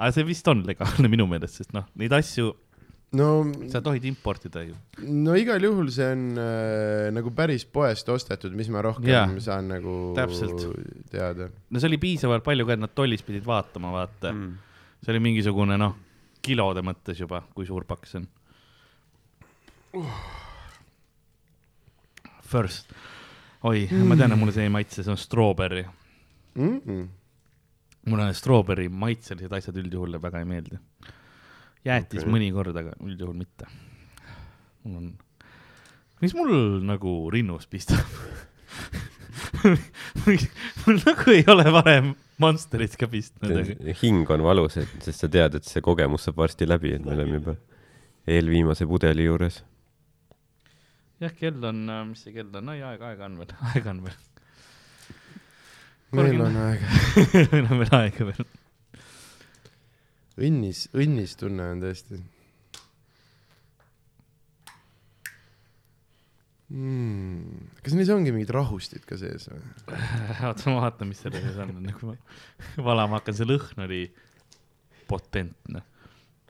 aga see vist on legaalne minu meelest , sest noh , neid asju
no ,
sa tohid importida ju .
no igal juhul see on äh, nagu päris poest ostetud , mis ma rohkem ja.
Jaa.
saan nagu
Täpselt.
teada .
no see oli piisavalt palju ka , et nad tollis pidid vaatama , vaata mm. . see oli mingisugune noh , kilode mõttes juba , kui suur pakk see on uh. . First , oi mm. , ma tean , et mulle see ei maitse , see on strawberry .
Mm -mm.
mulle strawberry maitselised asjad üldjuhul väga ei meeldi .
Okei.
jäätis okay. mõnikord , aga üldjuhul mitte . mul on , mis mul nagu rinnus pistab ? mul nagu ei ole varem Monsterit ka pistnud , aga
hing on valus , et , sest sa tead , et see kogemus saab varsti läbi , et me oleme juba eelviimase pudeli juures .
jah , kell on , mis see kell on , oi aega , aega on veel , aega on veel ,
meil
Korgin-
on aega .
meil on veel aega veel .
õnnis , õnnis tunne on tõesti mm. . kas neis ongi mingid rahustid ka sees või ?
oota , ma vaatan , mis selle sees on , enne kui ma valama hakkan , see lõhn oli potentne .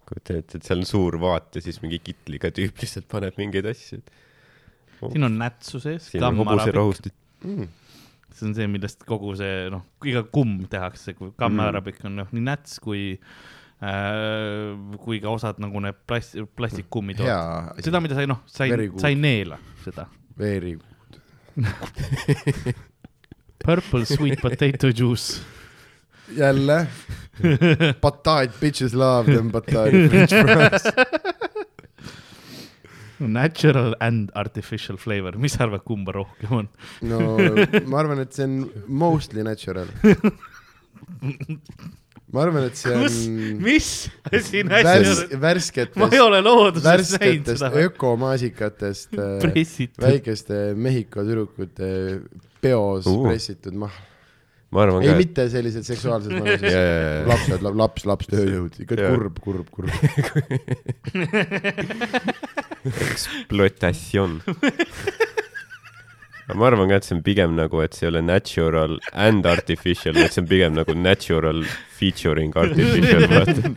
kujuta ette , et seal on suur vaat ja siis mingi kitliga tüüp lihtsalt paneb mingeid asju .
siin on nätsu sees ,
siin on
kammarabik ,
hobuserahustid .
Mm.
see on see , millest kogu see noh , iga kumm tehakse , kui kammarabik on noh , nii näts kui äh, , kui ka osad nagu need plast- , plastikkummid .
hea
seda , mida sa ei noh , sa ei
Very , good.
sa ei neela seda .
veeri .
Purple sweet potato juice .
jälle Bataid bitches love them Bataid french fries .
Natural and artificial flavor , mis sa arvad , kumba rohkem on ?
no ma arvan , et see on mostly natural . ma arvan , et see
kus ,
on
mis
värs,
asi natural , ma ei
värsketest ,
ole looduses näinud
värsketest
seda .
ökomaasikatest äh,
pressitud ,
väikeste Mehhiko tüdrukute peos
Uh.
uh. pressitud maha .
ma arvan
ei
ka , et
mitte sellised seksuaalsed mõnusad
Jaa, jaa, jaa.
lapsed , laps , laps , tööjõud , ikka
Jaa.
kurb , kurb , kurb .
exploitatsioon ma arvan ka , et see on pigem nagu , et see ei ole natural and artificial , vaid see on pigem nagu natural featuring artificial , vaata .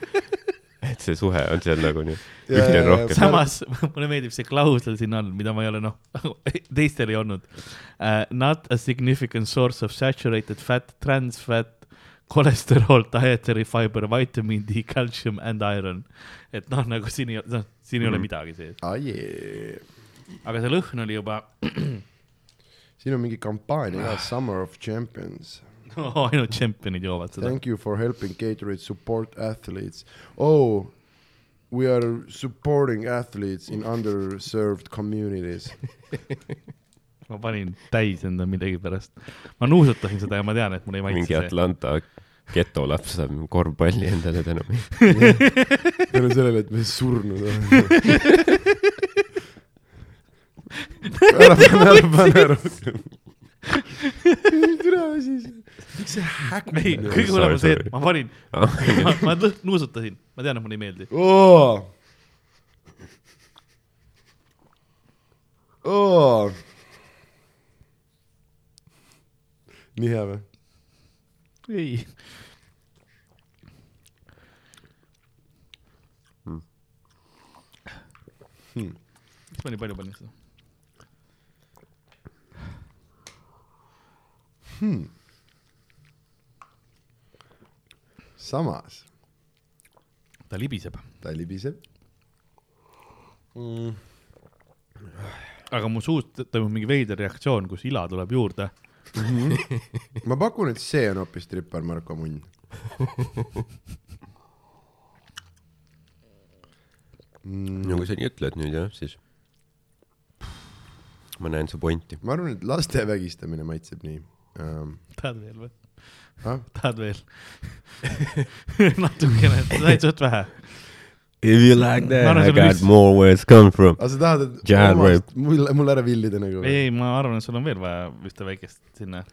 et see suhe on seal nagu nii ,
Jaa,
ühte
jaa,
on
jaa.
rohkem .
samas mulle meeldib see klausel siin all , mida ma ei ole noh , teistel ei olnud uh, . Not a significant source of saturated fat , trans fat , cholesterol , dietary fiber , vitamin D , calcium and iron . et noh , nagu siin ei , noh , siin ei ole
Mhm.
midagi sees ,
Ah, yeah.
aga see lõhn oli juba
siin on mingi kampaania ka , Summer of Champions .
no, , ainult tšempionid joovad seda .
Thank you for helping Gatorade support athletes. Oh, we are supporting athletes in underserved communities .
ma panin täis enda millegipärast . ma nuusutasin seda ja ma tean , et mul ei maitse
mingi
see .
Atlanta getolaps saab korvpalli endale tänu .
tänu sellele , et me surnud oleme . ära pane , ära pane rohkem . türa siis , miks see hägune
ei ,
on?
kõige hullem on see ,
Sorry,
et
Ah.
ma panin , ma, ma lõ- nuusutasin , ma tean , et mulle ei meeldi .
oo . oo . nii hea või ?
ei .
Hmm.
Hmm. miks ma nii palju panin seda ?
samas
ta libiseb ,
ta libiseb .
aga mu suust toimub mingi veider reaktsioon , kus ila tuleb juurde .
ma pakun , et see on hoopis tripper Marko Munn .
no kui Nagu sa nii ütled nüüd jah , siis ma näen su pointi .
ma arvan , et laste vägistamine maitseb nii ähm, .
tahad veel või ?
Ah?
tahad veel ? natukene , said suht vähe .
If you like
Ma arvan,
that , I
sul
got
vist-
more where it's come from .
aga sa tahad , et
Jaan
omast, mul , mul ära villida nagu
ei
või ?,
ei , ma arvan , et sul on veel vaja ühte väikest sinna .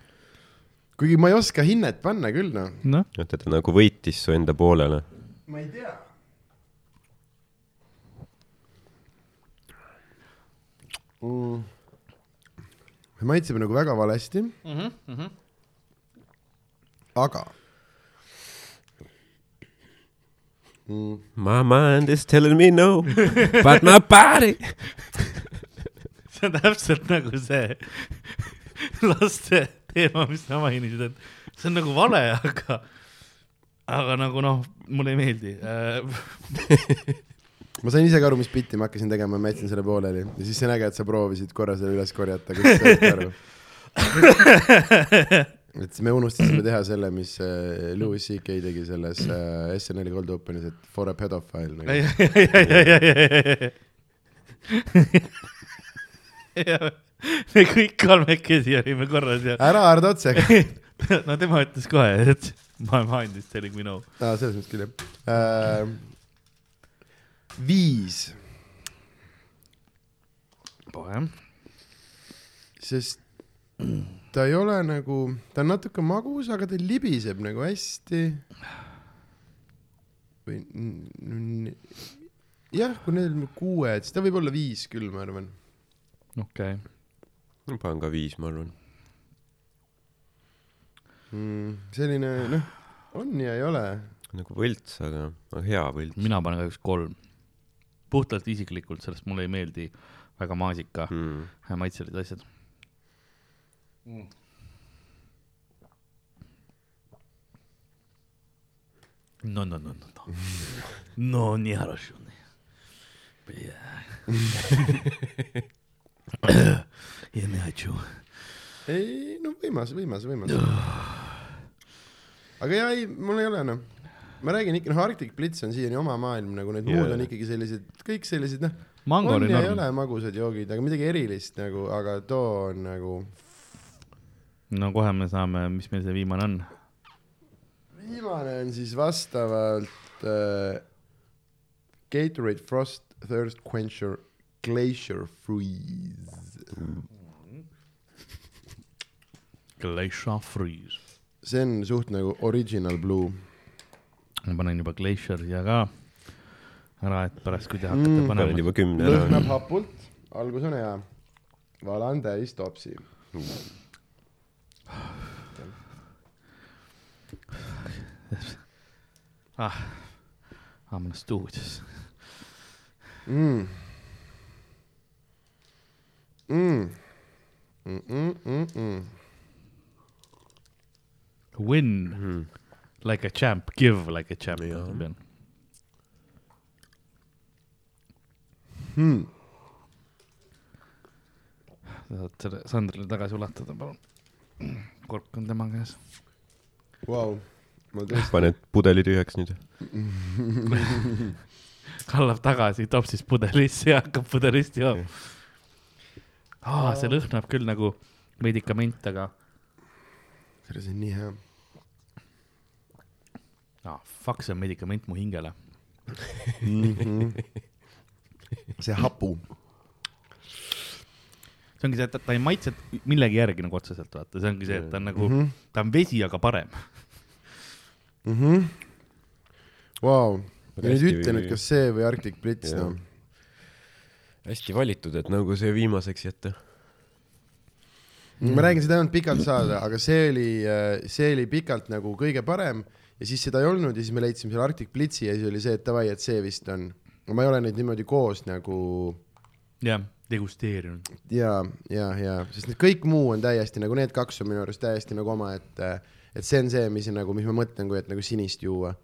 kuigi ma ei oska hinnet panna küll noh .
noh ,
oota , ta nagu võitis su enda poolele .
ma ei tea . maitseb nagu väga valesti mm . -hmm, mm -hmm. aga
My mind is telling me no , but my body .
see on täpselt nagu see laste teema , mis sa mainisid , et see on nagu vale , aga , aga nagu noh , mulle ei meeldi . Äh,
ma sain ise ka aru , mis bitti ma hakkasin tegema , ma jätsin selle pooleli ja siis see nägi , et sa proovisid korra selle üles korjata , kõik said aru . et siis me unustasime teha selle , mis äh, Louis CK tegi selles äh, SNL Gold Openis , et for a pedophile nagu. .
me kõik kolmekesi olime korra seal .
ära haarda otse .
no tema ütles kohe , et my mind is telling me no .
aa , Ah, selles mõttes küll jah äh, . viis ,
poeg .
sest ta ei ole nagu , ta on natuke magus , aga ta libiseb nagu hästi . või n- n- jah , kui need on kuued , siis ta võib olla viis küll , ma arvan .
okei okay. ,
ma panen ka viis , ma arvan .
selline noh , on ja ei ole .
nagu võlts , aga , aga hea võlts
mina panen kahjuks kolm . puhtalt isiklikult , sellest mulle ei meeldi väga maasika
mm. .
mm. maitselised asjad .
Mm.
no , no , no , no , no , no nii хорошо . Я не хочу .
ei no võimas , võimas , võimas . aga jaa , ei , mul ei ole noh ma räägin ikka , noh , Arctic Blitz on siiani oma maailm , nagu need muud
Jaa.
on ikkagi sellised , kõik sellised , noh ,
mango
on
oli
ja ei ole
norm ,
magusad joogid , aga midagi erilist nagu , aga too on nagu .
no kohe me saame , mis meil see viimane on ,
viimane on siis vastavalt äh, Gatorade Frost Thirst Quencher Glacier Freeze .
Glacier Freeze .
see on suht nagu original blue .
ma panen juba Glacier siia ka ära , et pärast , kui te hakkate mm,
panen
panema ,
juba kümne ära .
lõhnab hapult , algus on hea . valan täis topsi .
I m Ah, stuudios .
mm. . Mm. Mm -mm -mm -mm.
Win mm. like a champ , give like a champ .
Hmm.
saad selle Sandrile tagasi ulatada , palun . kork on tema käes .
Wow. ma tõesti ,
paned pudeli tühjaks nüüd .
kallab tagasi , toob siis pudelisse ja hakkab pudelist jooma . aa , see lõhnab küll nagu medikament , aga
see on nii hea .
ah, fuck , see on medikament mu hingele .
Mhm. see hapu .
see ongi see , et ta- ta ei maitse millegi järgi nagu otseselt vaata , see ongi see , et ta on nagu , ta on vesi , aga parem .
Mhm. Vau ,
Aga
nüüd
hästi
ütle
või-
nüüd , kas see või Arctic Blitz
Jah.
noh .
hästi valitud , et nagu see viimaseks jätta .
ma räägin seda ainult pikalt saada , aga see oli , see oli pikalt nagu kõige parem ja siis seda ei olnud ja siis me leidsime selle Arctic Blitzi ja siis oli see , et davai , et see vist on . ma ei ole neid niimoodi koos nagu
jah , degusteerinud .
ja , ja , ja , sest need kõik muu on täiesti nagu need kaks on minu arust täiesti nagu omaette , et see on see , mis nagu , mis ma mõtlen , kui et nagu sinist juua .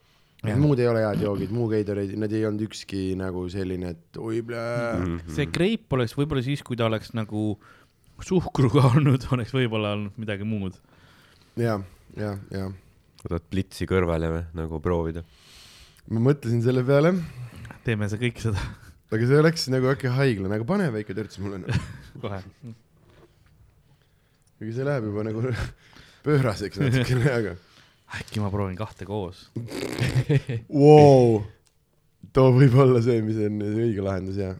muud ei ole head joogid , muu Gatorade , nad ei olnud ükski nagu selline , et oi plää .
Mhm.
see kreip oleks võib-olla siis , kui ta oleks nagu suhkruga olnud , oleks võib-olla olnud midagi muud .
ja , ja , ja
võtad plitsi kõrvale või , nagu proovida .
ma mõtlesin selle peale ,
teeme see kõik seda
aga see oleks nagu äkki haiglane , aga pane väike törts mulle .
kohe .
kuigi see läheb juba nagu pööraseks natukene , aga
äkki ma proovin kahte koos .
wow. . too võib olla see , mis on õige lahendus ja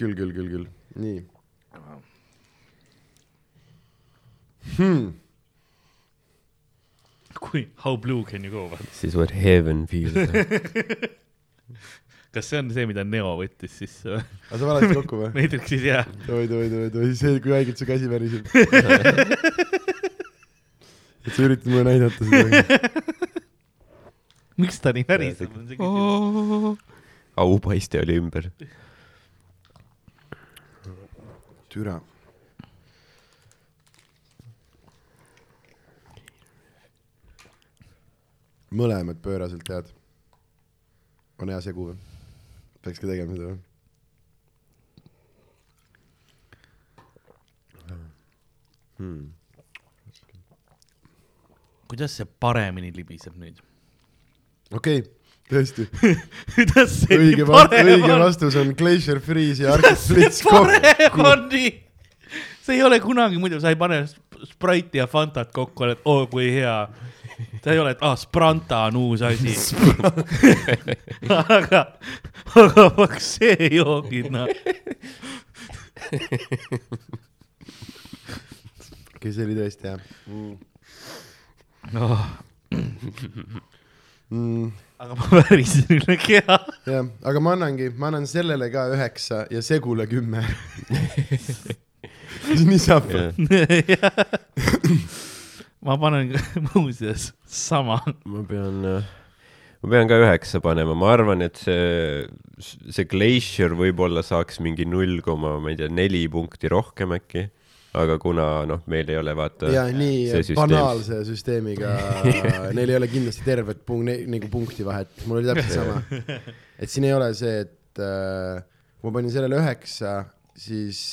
küll , küll , küll , küll , nii hmm. .
kui how blue can you go vaata .
siis what heaven feels like .
kas see on see , mida Neo võttis sisse või ?
aga sa valasid kokku või ?
Matrixis jah .
oi , oi , oi , oi , see , kui haigelt su käsi väriseb . et sa üritad mulle näidata seda .
miks ta nii väriseb , on see küsimus .
aupaiste oli ümber .
türa . mõlemad pööraselt head . on hea segu või ? peaks ka tegema seda või ?
kuidas see paremini libiseb nüüd ?
okei okay, , tõesti .
kuidas see
õige
nii
vast- ,
parem
õige
on ?
vastus on Glacier Freeze ja Arctic
kuidas see
Blitz
parem
kokku .
on nii ? see ei ole kunagi muidu , sa ei pane sp- Sprite'i ja Fantat kokku , oled oo kui hea . sa ei ole , et aa , Spranta on uus asi . aga , aga vot see joogid , noh .
okei , see oli tõesti hea mm. .
Oh.
Mm,
aga ma värisin üle keha .
jah , aga ma annangi , ma annan sellele ka üheksa ja segule kümme . nii saab yeah. .
ma panen muuseas sama .
ma pean , ma pean ka üheksa panema , ma arvan , et see , see Glacier võib-olla saaks mingi null koma , ma ei tea , neli punkti rohkem äkki . aga kuna noh , meil ei ole vaata
ja nii
see süsteem-
banaalse süsteemiga neil ei ole kindlasti tervet punk, ne, nagu punkti vahet , mul oli täpselt sama . et siin ei ole see , et äh, kui ma panin sellele üheksa , siis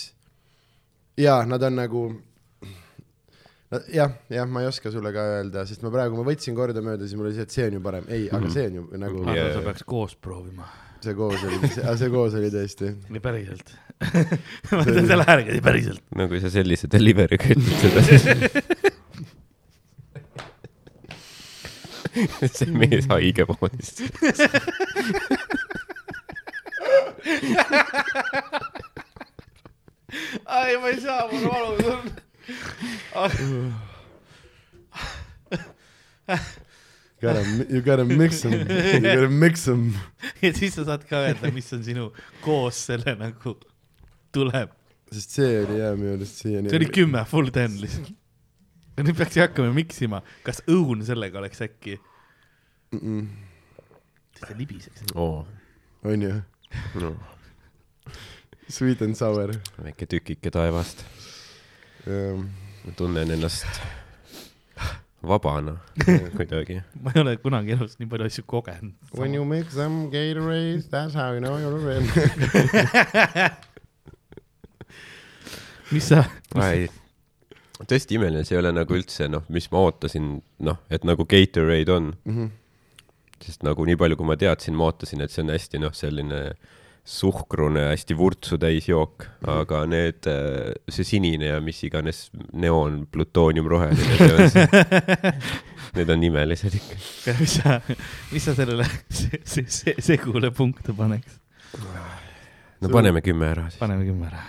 ja nad on nagu nad- jah , jah , ma ei oska sulle ka öelda , sest ma praegu , ma võtsin kordamööda , siis mul oli see , et see on ju parem , ei ,
Mhm.
aga see on ju nagu
aga
Jaa.
sa peaks koos proovima .
see koos oli , see koos oli tõesti .
või päriselt ? ma teen selle häälega , ei päriselt .
no kui sa sellise delivery'ga ütled seda , siis see mees haige poodist .
ei , ma ei saa , mul valus on .
Gotta , you gotta mix em , you gotta mix em .
ja siis sa saad ka öelda , mis on sinu koos selle nagu tuleb .
sest see oli jah , minu arust siiani .
see oli kümme , full ten lihtsalt . ja nüüd peaks hakkama miksima , kas õun sellega oleks äkki ? see libiseks .
oo ,
onju ,
no
sweet and sour . Um,
väike tükike taevast . ma tunnen ennast vabana kuidagi .
ma ei ole kunagi elus nii palju asju kogenud .
When you mix them Gatorade , that's how you know you are in .
mis sa ,
ei , tõesti imeline , see ei ole nagu üldse noh , mis ma ootasin , noh , et nagu Gatorade on mm . -hmm. sest nagu nii palju , kui ma teadsin , ma ootasin , et see on hästi noh , selline suhkrune , hästi vurtsu täis jook , aga need , see sinine ja mis iganes neoon , plutooniumroheline , need on imelised ikka .
mis sa , mis sa sellele se- se- se- segule punkte paneks ?
no
See-
paneme kümme ära siis .
paneme kümme ära .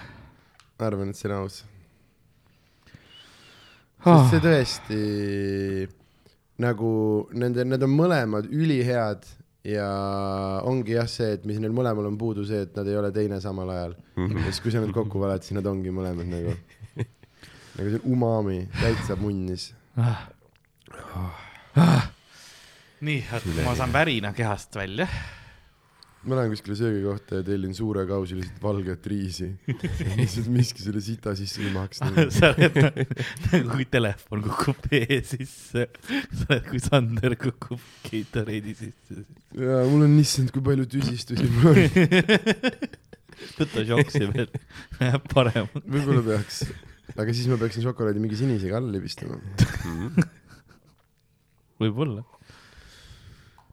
ma arvan , et see on aus . sest see tõesti nagu nende , need on mõlemad ülihead ja ongi jah see , et mis neil mõlemal on puudu see , et nad ei ole teine samal ajal . ja siis , kui sa nad kokku valed , siis nad ongi mõlemad nagu , nagu see umami täitsa munnis .
nii , ma saan värina kehast välja .
ma lähen kuskile söögikohta ja tellin suure kausi lihtsalt valget riisi . lihtsalt miski selle sita sisse ei maksa .
sa oled nagu , kui telefon kukub vee sisse , sa oled kui Sander kukub Gatorade'i sisse .
ja mul on issand , kui palju tüsistusi mul on .
võta šoksi veel , läheb paremaks .
võib-olla peaks , aga siis ma peaksin šokolaadi mingi sinisega alla libistama .
Mhm.
võib-olla .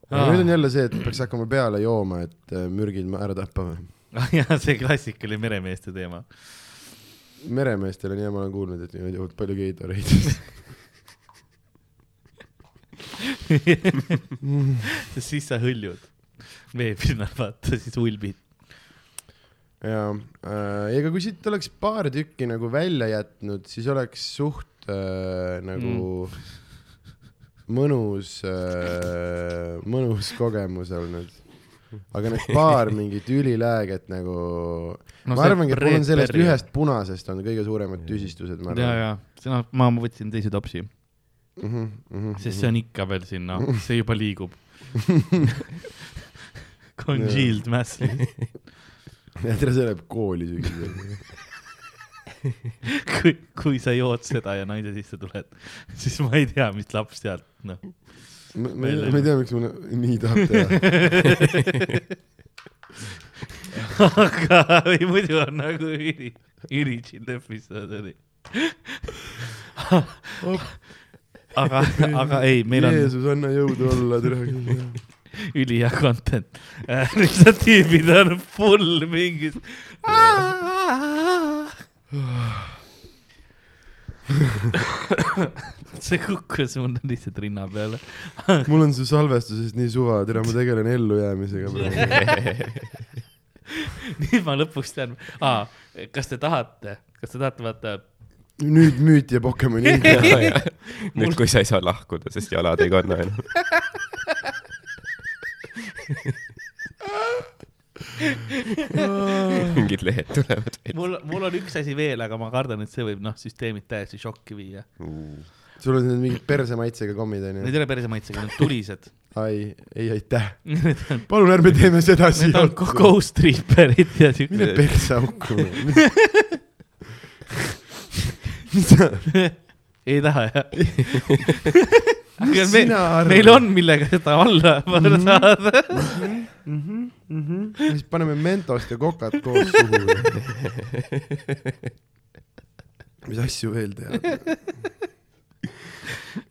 aga nüüd on jälle see , et peaks hakkama peale jooma , et äh, mürgid ma- ära tappa või ?
jah , Ah, see klassikaline meremeeste teema .
meremeestel on hea , ma olen kuulnud , et nad joovad palju Gatorade'ist .
sest siis sa hõljud vee pinnal , vaata , siis ulbid .
ja äh, ega kui siit oleks paar tükki nagu välja jätnud , siis oleks suht äh, nagu mm. mõnus äh, , mõnus kogemus olnud . aga need paar mingit ülilääget nagu no , ma arvangi , et mul on sellest perri. . ühest punasest on kõige suuremad tüsistused , ma
ja ,
arvan .
ja , sina , ma võtsin teise topsi ,
Mm -hmm, mm -hmm.
sest see on ikka veel sinna , see juba liigub . Congealed mass ,
mhm. ja tere , see läheb kooli sügisel .
kui , kui sa jood seda ja naise sisse tuled , siis ma ei tea , mis laps sealt , noh .
ma ma
Meil
ei
ei-
ma ei tea , miks ma nii tahab teha .
aga või muidu on nagu üli , üli chill episood oli . aga , aga ei , meil on
Jeesus , anna jõudu olla , tere küll .
ülihea content . Äh, lihtsalt tüübid on full mingis . see kukkus mul lihtsalt rinna peale .
mul on su salvestusest nii suva , tere , ma tegelen ellujäämisega praegu .
nüüd ma lõpuks tean ah, , kas te tahate , kas te tahate vaata ,
nüüd müüt ja Pokemoni hind .
nüüd , kui sa ei saa lahkuda , sest jalad ei kanna enam . mingid lehed tulevad
mul , mul on üks asi veel , aga ma kardan , et see võib noh , süsteemid täiesti šokki viia .
välja .
sul on need mingid persemaitsega kommid
Need
onju .
ei ole päris maitsega , need on tulised .
ai , ei aitäh . palun ärme teeme seda
Need
siia
on . ko- ghost reaper'id ja siukene .
mine perse auku .
ei taha jah . aga me,
sina arvad? Mhm.
meil on , millega seda alla panna saada .
siis paneme Mentost ja Kokat koos suhu . mis asju veel teha ?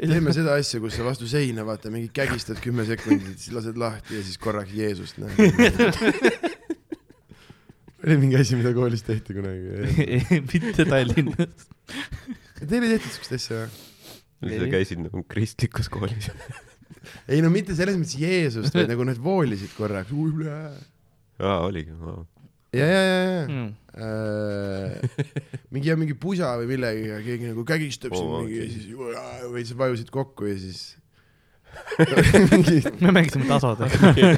teeme seda asja , kus sa vastu seina vaata , mingi kägistad kümme sekundit , siis lased lahti ja siis korraks Jeesust noh. näed . oli mingi asi , mida koolis tehti kunagi .
mitte Tallinnas .
Teil ei tehtud siukest asja või ?
sa käisid nagu kristlikus koolis .
ei no mitte selles mõttes Jeesust , vaid nagu nad voolisid korraks .
aa , oligi wow. .
ja , ja , ja ,
Mm.
ja . Äh, mingi , mingi pusa või millegagi , keegi nagu kägistab sind
Oo,
mingi ja
Oh, okei.
siis ju- või sa vajusid kokku ja siis mingi
me mängisime tasodega . meil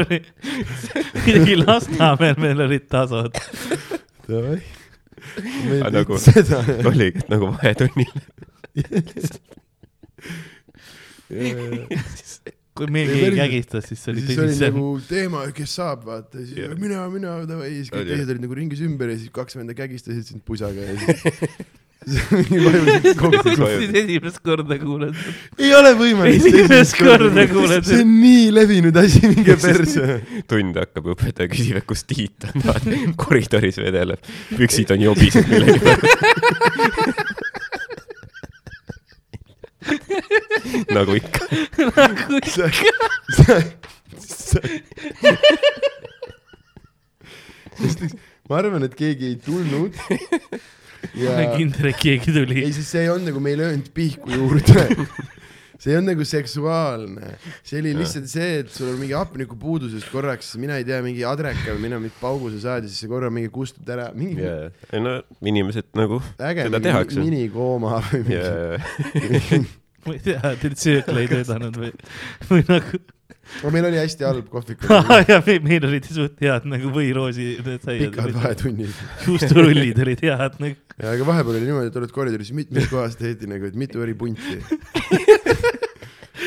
oli , kuidagi Lasnamäel meil olid tasod .
davai . me ei
Aga
teinud
nagu-
seda .
oligi , et nagu vahetunnil .
ja
kui
Ei,
meil
päriselt.
keegi kägistas , siis see oli
siis oli
tõsisem .
nagu teema , kes saab , vaata , siis
Jah.
mina , mina , davai , siis kõik
Oli,
teised
jah.
olid nagu ringis ümber ja siis kaks venda kägistasid sind pusaga ja siis mingi vajusid kokku .
siis esimest korda kuulen .
ei ole võimalik .
Esimest korda kuulen.
see on nii levinud asi , minge perse .
tund hakkab , õpetaja küsib , et kus Tiit on , vaata koridoris vedeleb , püksid on jobised millegipärast . nagu ikka .
sa , sa , sa , arvan , et keegi ei tulnud .
ma olen kindel , et keegi tuli
ei ,. siis see ei olnud nagu , me ei löönud pihku juurde . see ei olnud nagu seksuaalne , see oli lihtsalt see , et sul on mingi hapnikupuudusest korraks , mina ei tea , mingi adreka või mina mingi paugu sa saad ja siis sa korra mingi kustud ära , mingi yeah.
jaa , ei no inimesed nagu
äge
seda
mingi
tehakse .
minikooma või mingi yeah.
jaa ,
ma ei tea , teil söökla ei töötanud või , või nagu .
aga meil oli hästi halb kohvik ,
ja me- meil olid suht head nagu võiroosi .
pikad vahetunnid .
juusturullid olid head nagu .
aga vahepeal oli niimoodi , et oled koridoris , mitmes kohas tehti nagu , et mitu eri punti .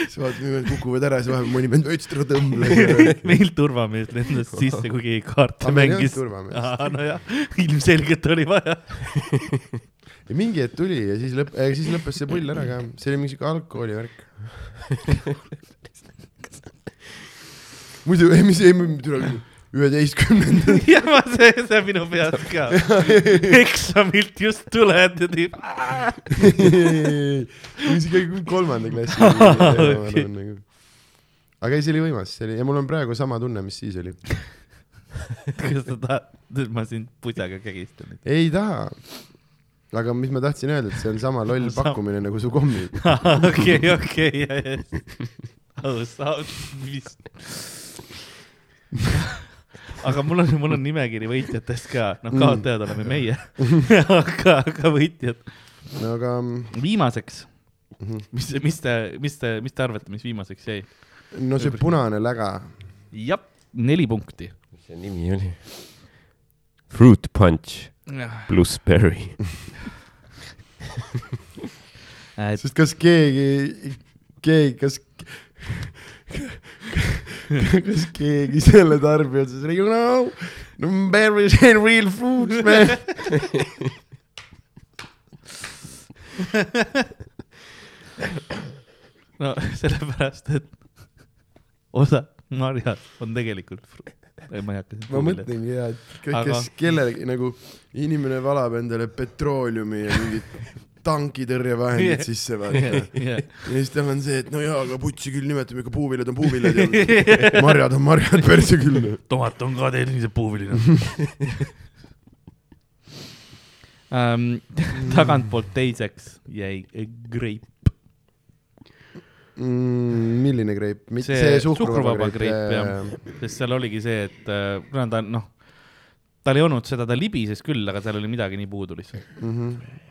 sa vaatad , niimoodi kukuvad ära ja siis vahepeal mõni mind ötstra tõmbleb .
meil turvamees lendas sisse , kui keegi kaarte
Aga meil ei olnud
mängis .
turvameest.
nojah , ilmselgelt oli vaja .
ja mingi hetk tuli ja siis lõpp , siis lõppes see pull ära ka , see oli mingi siuke algkoolivärk . muidu , ei mis , ei me tuleb üheteistkümnendal ,
ja ma , see , see minu peas ka . eksamilt just tuled ja tüüp , "Ah,
isegi kolmanda klassi
Okei.
okay. . aga ei , see oli võimas , see oli ja mul on praegu sama tunne , mis siis oli .
kas sa tahad , nüüd ma sind pusaga kägistan .
ei taha . aga mis ma tahtsin öelda , et see on sama loll
Sama.
pakkumine nagu su kommid .
okei , okei , Oh, ja , ja . aus , aus , mis . aga mul on , mul on nimekiri võitjatest ka , noh ,
Mm.
kaotajad oleme meie , aga , aga võitjad .
no aga
viimaseks ,
mhm.
mis , mis te , mis te , mis te arvate , mis viimaseks jäi ?
no see punane läga ,
jah , neli punkti .
mis see nimi oli ? Fruit punch pluss berry .
sest kas keegi , keegi , kas , kas keegi selle tarbijad siis , you know , berries and real fruits man .
no sellepärast , et osa marjad on tegelikult fru- , ma ei hakka .
ma . mõtlengi ja , et kõik ,
Aga-
kes kellelegi nagu inimene valab endale petrooleumi ja mingit tankitõrjevahendid sisse vaata .
jah ,
ja siis tal on see , et no jaa , aga putsi küll nimetame , ikka puuviljad on puuviljad ja marjad on marjad , perse küll .
tomat on ka teil niisugune puuviline um, . tagantpoolt teiseks jäi greip ,
mm, . milline greip ? mitte
See
see, see suhkruvaba
suhkruvaba greip, jah. sest seal oligi see , et äh, kuna ta noh , tal ei olnud seda , ta libises küll , aga seal oli midagi nii puudu lihtsalt .
mm . -hmm.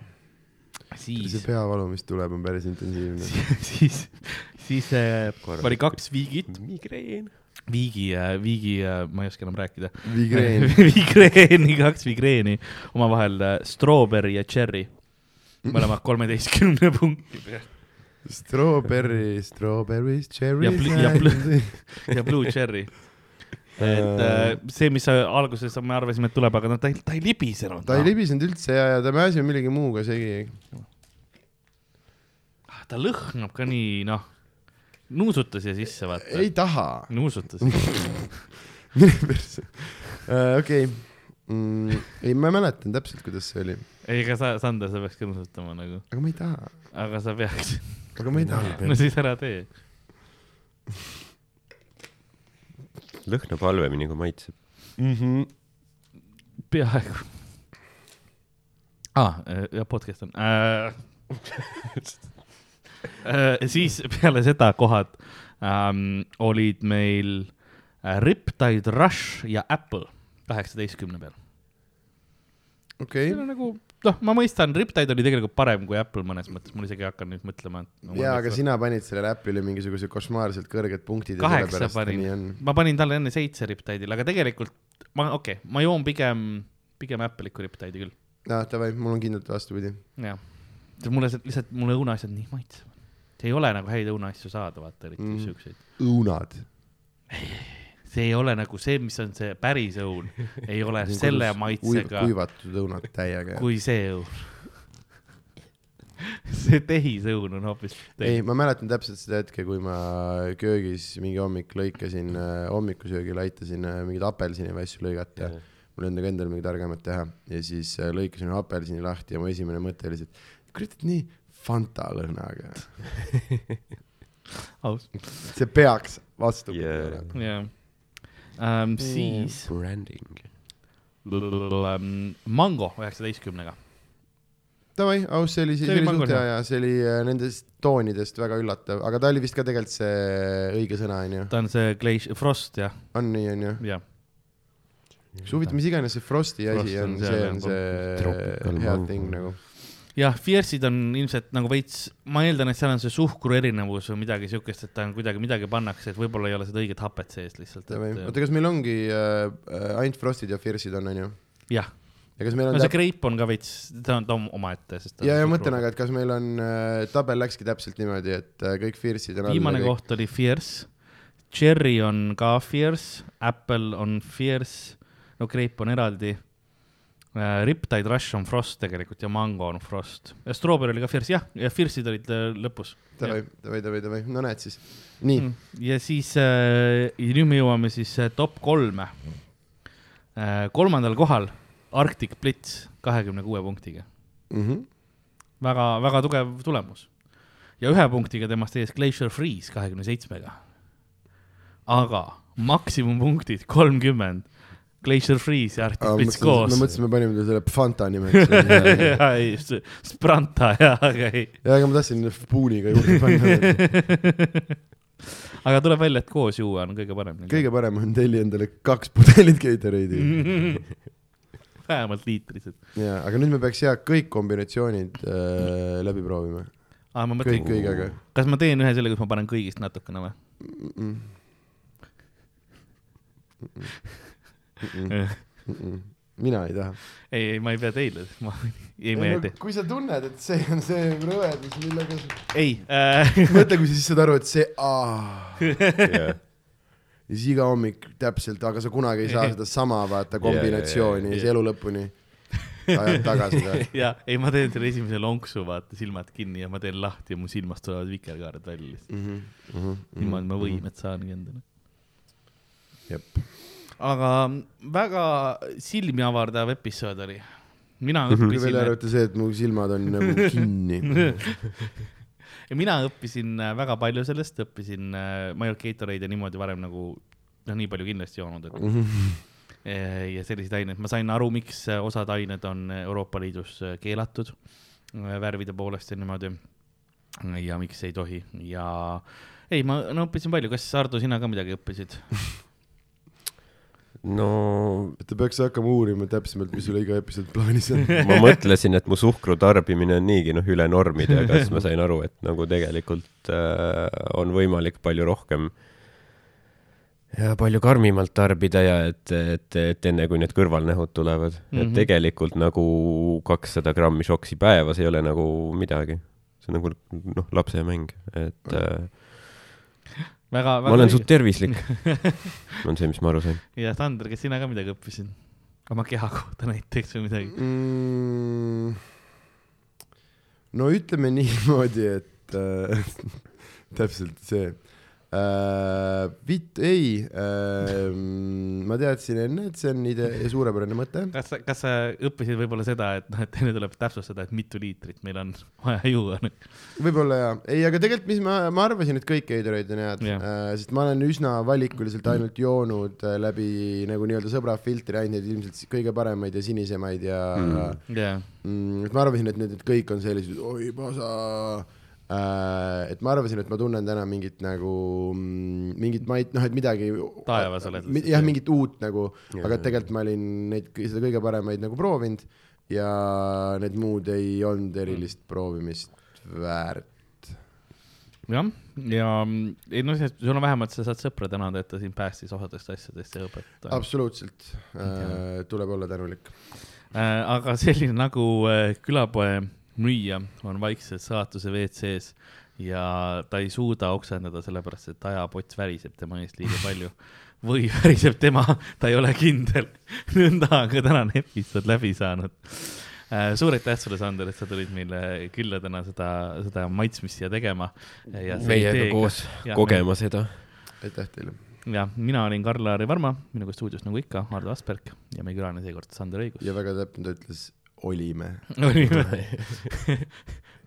see
siis ,
peavalu , mis tuleb , on päris intensiivne .
siis , siis äh,
Korra.
oli kaks viigit ,
migreen .
viigi , viigi , ma ei oska enam rääkida .
Vigreen .
vigreeni , kaks vigreeni , omavahel äh, strawberry ja cherry . mõlemad kolmeteistkümne punkti peal .
Strawberry , strawberries ,
Ja
cherries
pl- ja . ja Blue Cherry . et äh, see , mis sa- alguses me arvasime , et tuleb , aga no ta ei , ta ei libisenud . noh.
ta ei libisenud üldse ja , ja tema asi on millegi muuga segi .
Ah, ta lõhnab ka nii , noh , nuusuta siia sisse , vaata .
ei taha .
nuusutas .
Äh, okei , ei , ma mäletan täpselt , kuidas see oli ,
ei , ega sa , Sander , sa peaks ka nuusutama nagu ,
aga ma ei taha ,
aga sa peaks ,
aga ma ei taha .
no siis ära tee .
lõhnab halvemini kui maitseb .
peaaegu . aa , ja podcast on äh, . Äh, siis peale seda kohad ähm, olid meil äh, Riptide Rush ja Apple kaheksateistkümne peal .
okei
see , on nagu , noh , ma mõistan , Riptide oli tegelikult parem kui Apple mõnes mõttes , mul isegi hakkan nüüd mõtlema , et no, .
ja , aga sina panid sellele äpile mingisuguse košmaarselt kõrged punktid .
kaheksa panin , ma panin talle enne seitse Riptide'ile , aga tegelikult ma , okei okay, , ma joon pigem , pigem Apple'iku Riptide'i küll ,
jah , davai , mul on kindlalt vastupidi .
jah . mulle see lihtsalt , mulle õunaasjad nii maitsevad . ei ole nagu häid õunaasju saada , vaata eriti mm.
Mhm.
siukseid .
õunad .
see ei ole nagu see , mis on see päris õun , ei ole selle maitsega
kuivatud õunad täiega .
kui see õun . see tehisõun on hoopis .
ei , ma mäletan täpselt seda hetke , kui ma köögis mingi hommik lõikasin , hommikusöögil aitasin äh, mingeid apelsini või asju lõigata . mul ei olnud nagu endal midagi targemat teha ja siis äh, lõikasin ühe apelsini lahti ja mu esimene mõte oli see , et kurat , et nii Fanta lõhnaga .
aus ,
see peaks vastupidi
Yeah.
olema .
jah . Um, siis mm,
Branding .
Mango üheksateistkümnega .
Davai , aus , see oli siis , see
See oli
oli suht
Mangorna.
hea ja see oli äh, nendest toonidest väga üllatav , aga ta oli vist ka tegelikult see äh, õige sõna onju ,
ta on see Glacier , Frost jah ,
on nii onju .
jah .
kas huvitav , mis iganes see Frosti
Frost
asi
on
on ,
seal,
see
jah,
on see
Tropical
hea
mango.
thing nagu .
jah , Fierce'id on ilmselt nagu veits , ma eeldan , et seal on see suhkru erinevus või midagi siukest , et ta on kuidagi midagi pannakse , et võib-olla ei ole seda õiget hapet sees lihtsalt .
Davai , oota , kas meil ongi äh, äh, ainult Frostid ja Fierce'id on onju ?
jah ,
ja kas meil
no
on
see grape on ka veits , ta on , ta on omaette , sest .
ja , ja mõtlen , aga et kas meil on äh, , tabel läkski täpselt niimoodi , et äh, kõik Fierce'id on all .
viimane
kõik... .
koht oli Fierce , Cherry on ka Fierce , Apple on Fierce , no Grape on eraldi . Riptide Rush on Frost tegelikult ja Mango on Frost ja Strawberry oli ka Fierce , jah , ja Fierce'id olid äh, lõpus .
Davai , davai , davai , davai , no näed siis . nii mm. ,
ja siis äh, , ja nüüd me jõuame siis äh, top kolme äh, . kolmandal kohal Arctic Blitz kahekümne kuue punktiga ,
mm -hmm.
väga , väga tugev tulemus . ja ühe punktiga temast ees Glacier Freeze kahekümne seitsmega . aga maksimumpunktid kolmkümmend , Glacier Freeze ja Arctic Blitz
me
koos .
mõtlesime , panime talle selle Fanta nimeks .
ja ei , Spranta ja , aga ei .
ja , aga ma tahtsin puuniga juurde panna .
aga tuleb välja , et koos juua on kõige parem .
kõige parem on telli endale kaks pudelit Gatorade'i .
Mhm. vähemalt liitrised .
ja , aga nüüd me peaks ja kõik kombinatsioonid äh, läbi proovima .
aa , ma
kõik
mõtlen ,
kõigega .
kas ma teen ühe selle , kus ma panen kõigist natukene või ?
mina ei taha .
ei , ei , ma ei pea teile , ma , ei , ma ei tee .
kui sa tunned , et see on see rõvedus , millega sa .
ei äh, ,
mõtle , kui sa siis saad aru , et see aa
jah .
ja siis iga hommik täpselt , aga sa kunagi ei saa sedasama vaata kombinatsiooni yeah, yeah, yeah, yeah. elu lõpuni . ajad tagasi ta .
ja ei , ma teen selle esimese lonksu , vaata , silmad kinni ja ma teen lahti ja mu silmast tulevad vikerkaared välja lihtsalt .
Mhm, Mm.
ilma , et ma võimet saangi endale .
jep ,
aga väga silmi avardav episood oli . mina
kui Mhm. välja
õppisin ,
arvata see , et mu silmad on nagu kinni .
mina õppisin äh, väga palju sellest , õppisin , ma ei olnud Gatorade'i niimoodi varem nagu noh , nii palju kindlasti joonud , et Eh, ja selliseid aineid , ma sain aru , miks eh, osad ained on eh, Euroopa Liidus eh, keelatud eh, värvide poolest ja niimoodi . ja miks ei tohi ja ei , ma no, õppisin palju , kas Ardo , sina ka midagi õppisid ?
no
et ta peaks hakkama uurima täpsemalt , mis sul iga episood plaanis on .
ma mõtlesin , et mu suhkru tarbimine on niigi noh , üle normide , aga siis ma sain aru , et nagu tegelikult äh, on võimalik palju rohkem ja palju karmimalt tarbida ja et , et , et enne kui need kõrvalnähud tulevad mm , -hmm. et tegelikult nagu kakssada grammi šoksi päevas ei ole nagu midagi . see on nagu noh , lapsemäng , et äh,
väga ,
ma
väga
olen suht tervislik . on see , mis ma aru sain .
ja Sander , kas sina ka midagi õppisid ? oma keha kohta näiteks või midagi ?
Mm. no ütleme niimoodi , et äh, täpselt see äh, . Vitt , ei äh, , ma teadsin enne , et see on idee , suurepärane mõte .
kas sa , kas sa õppisid võib-olla seda , et noh , et teile tuleb täpsustada , et mitu liitrit meil on vaja juua nüüd ?
võib-olla jaa , ei , aga tegelikult , mis ma , ma arvasin , et kõik Gatorade'id on head
Jah.
yeah. , sest ma olen üsna valikuliselt ainult joonud äh, läbi nagu nii-öelda sõbra filtri ainult neid ilmselt si- kõige paremaid ja sinisemaid ja mm.
jah ,
Mm, et ma arvasin , et need nüüd kõik on sellised , oi pasa äh, . et ma arvasin , et ma tunnen täna mingit nagu mm, mingit mait , noh , et midagi .
Taevas oled lihtsalt,
jah , mingit uut nagu , aga tegelikult ma olin neid , seda kõige paremaid nagu proovinud ja need muud ei olnud erilist
Mm.
proovimist väärt .
jah , ja mm, ei no see , sul on vähemalt , sa saad sõpra tänada , et ta sind päästis osadest asjadest ja õpetas .
absoluutselt äh, , tuleb olla tänulik .
Äh, aga selline nagu äh, külapoe müüja on vaikselt saatuse WC-s ja ta ei suuda oksendada , sellepärast et ajapots väriseb tema eest liiga palju või väriseb tema , ta ei ole kindel . nõnda on ka tänane episood läbi saanud . suur aitäh sulle , Sander , et sa tulid meile külla täna seda , seda maitsmist siia tegema . Äh,
meiega koos kogema seda .
aitäh teile .
jah , mina olin Karl-Laari Varma , minuga stuudios nagu ikka , Hardo Asperg ja meie külaline seekord Sander Õigus .
ja väga täpne ta ütles , olime .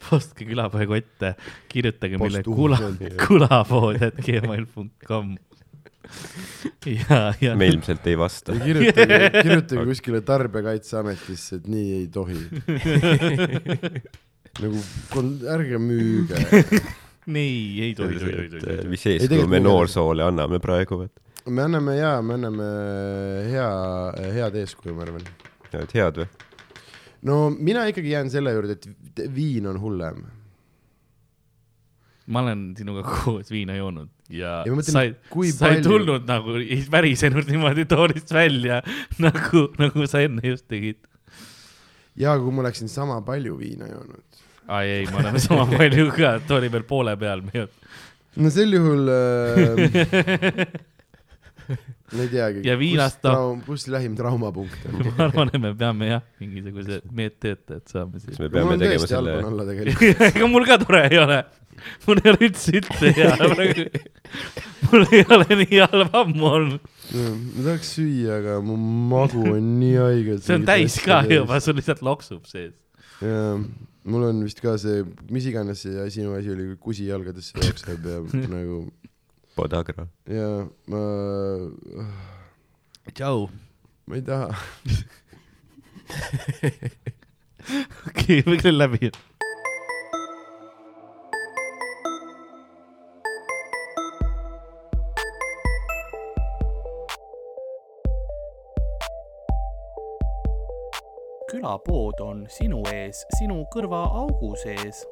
postke külapoe kotte , kirjutage meile
Postuum.
kula , kulapood , et gmail.com . ja , ja
me ilmselt ei vasta .
kirjutage , kirjutage kuskile Tarbijakaitseametisse , et nii ei tohi . nagu kon- ärge müüge .
nii ei tohi , tohi , tohi , tohi , tohi .
mis eeskuju
tegelikult
me
me-
noorsoole anname praegu ,
me anname ja , me anname hea , head eeskuju , ma arvan .
et head või ?
no mina ikkagi jään selle juurde , et viin on hullem .
ma olen sinuga koos viina joonud ja,
Ja ma mõtlen,
sa ei ,
kui
sa ei
palju-
tulnud nagu , ei värisenud niimoodi toolist välja nagu , nagu sa enne just tegid .
ja kui ma oleksin sama palju viina joonud .
ai ei , me oleme sama palju ka , tooli peal poole peal me ei olnud .
no sel juhul äh, , ma ei teagi .
Ja viinast on-
kus, kus lähim traumapunkt on ?
ma arvan , et me peame jah , mingisuguse meetteetajad saame
kas
siis .
me
mul
peame
on
tegema
tõesti halb
selle
on , olla tegelikult .
ega mul ka tore ei ole . mul ei ole üldse , üldse hea praegu . mul ei ole nii halb ammu olnud ,
ma tahaks süüa , aga mu magu on nii haige .
see on täis ka juba , sul lihtsalt loksub sees .
jaa , mul on vist ka see , mis iganes see asi , sinu asi oli , kui kusi jalgadesse jookseb ja nagu
podagra .
ja ma ,
tšau .
ma ei taha .
okei , võiks veel läbi .
külapood on sinu ees , sinu kõrva augu sees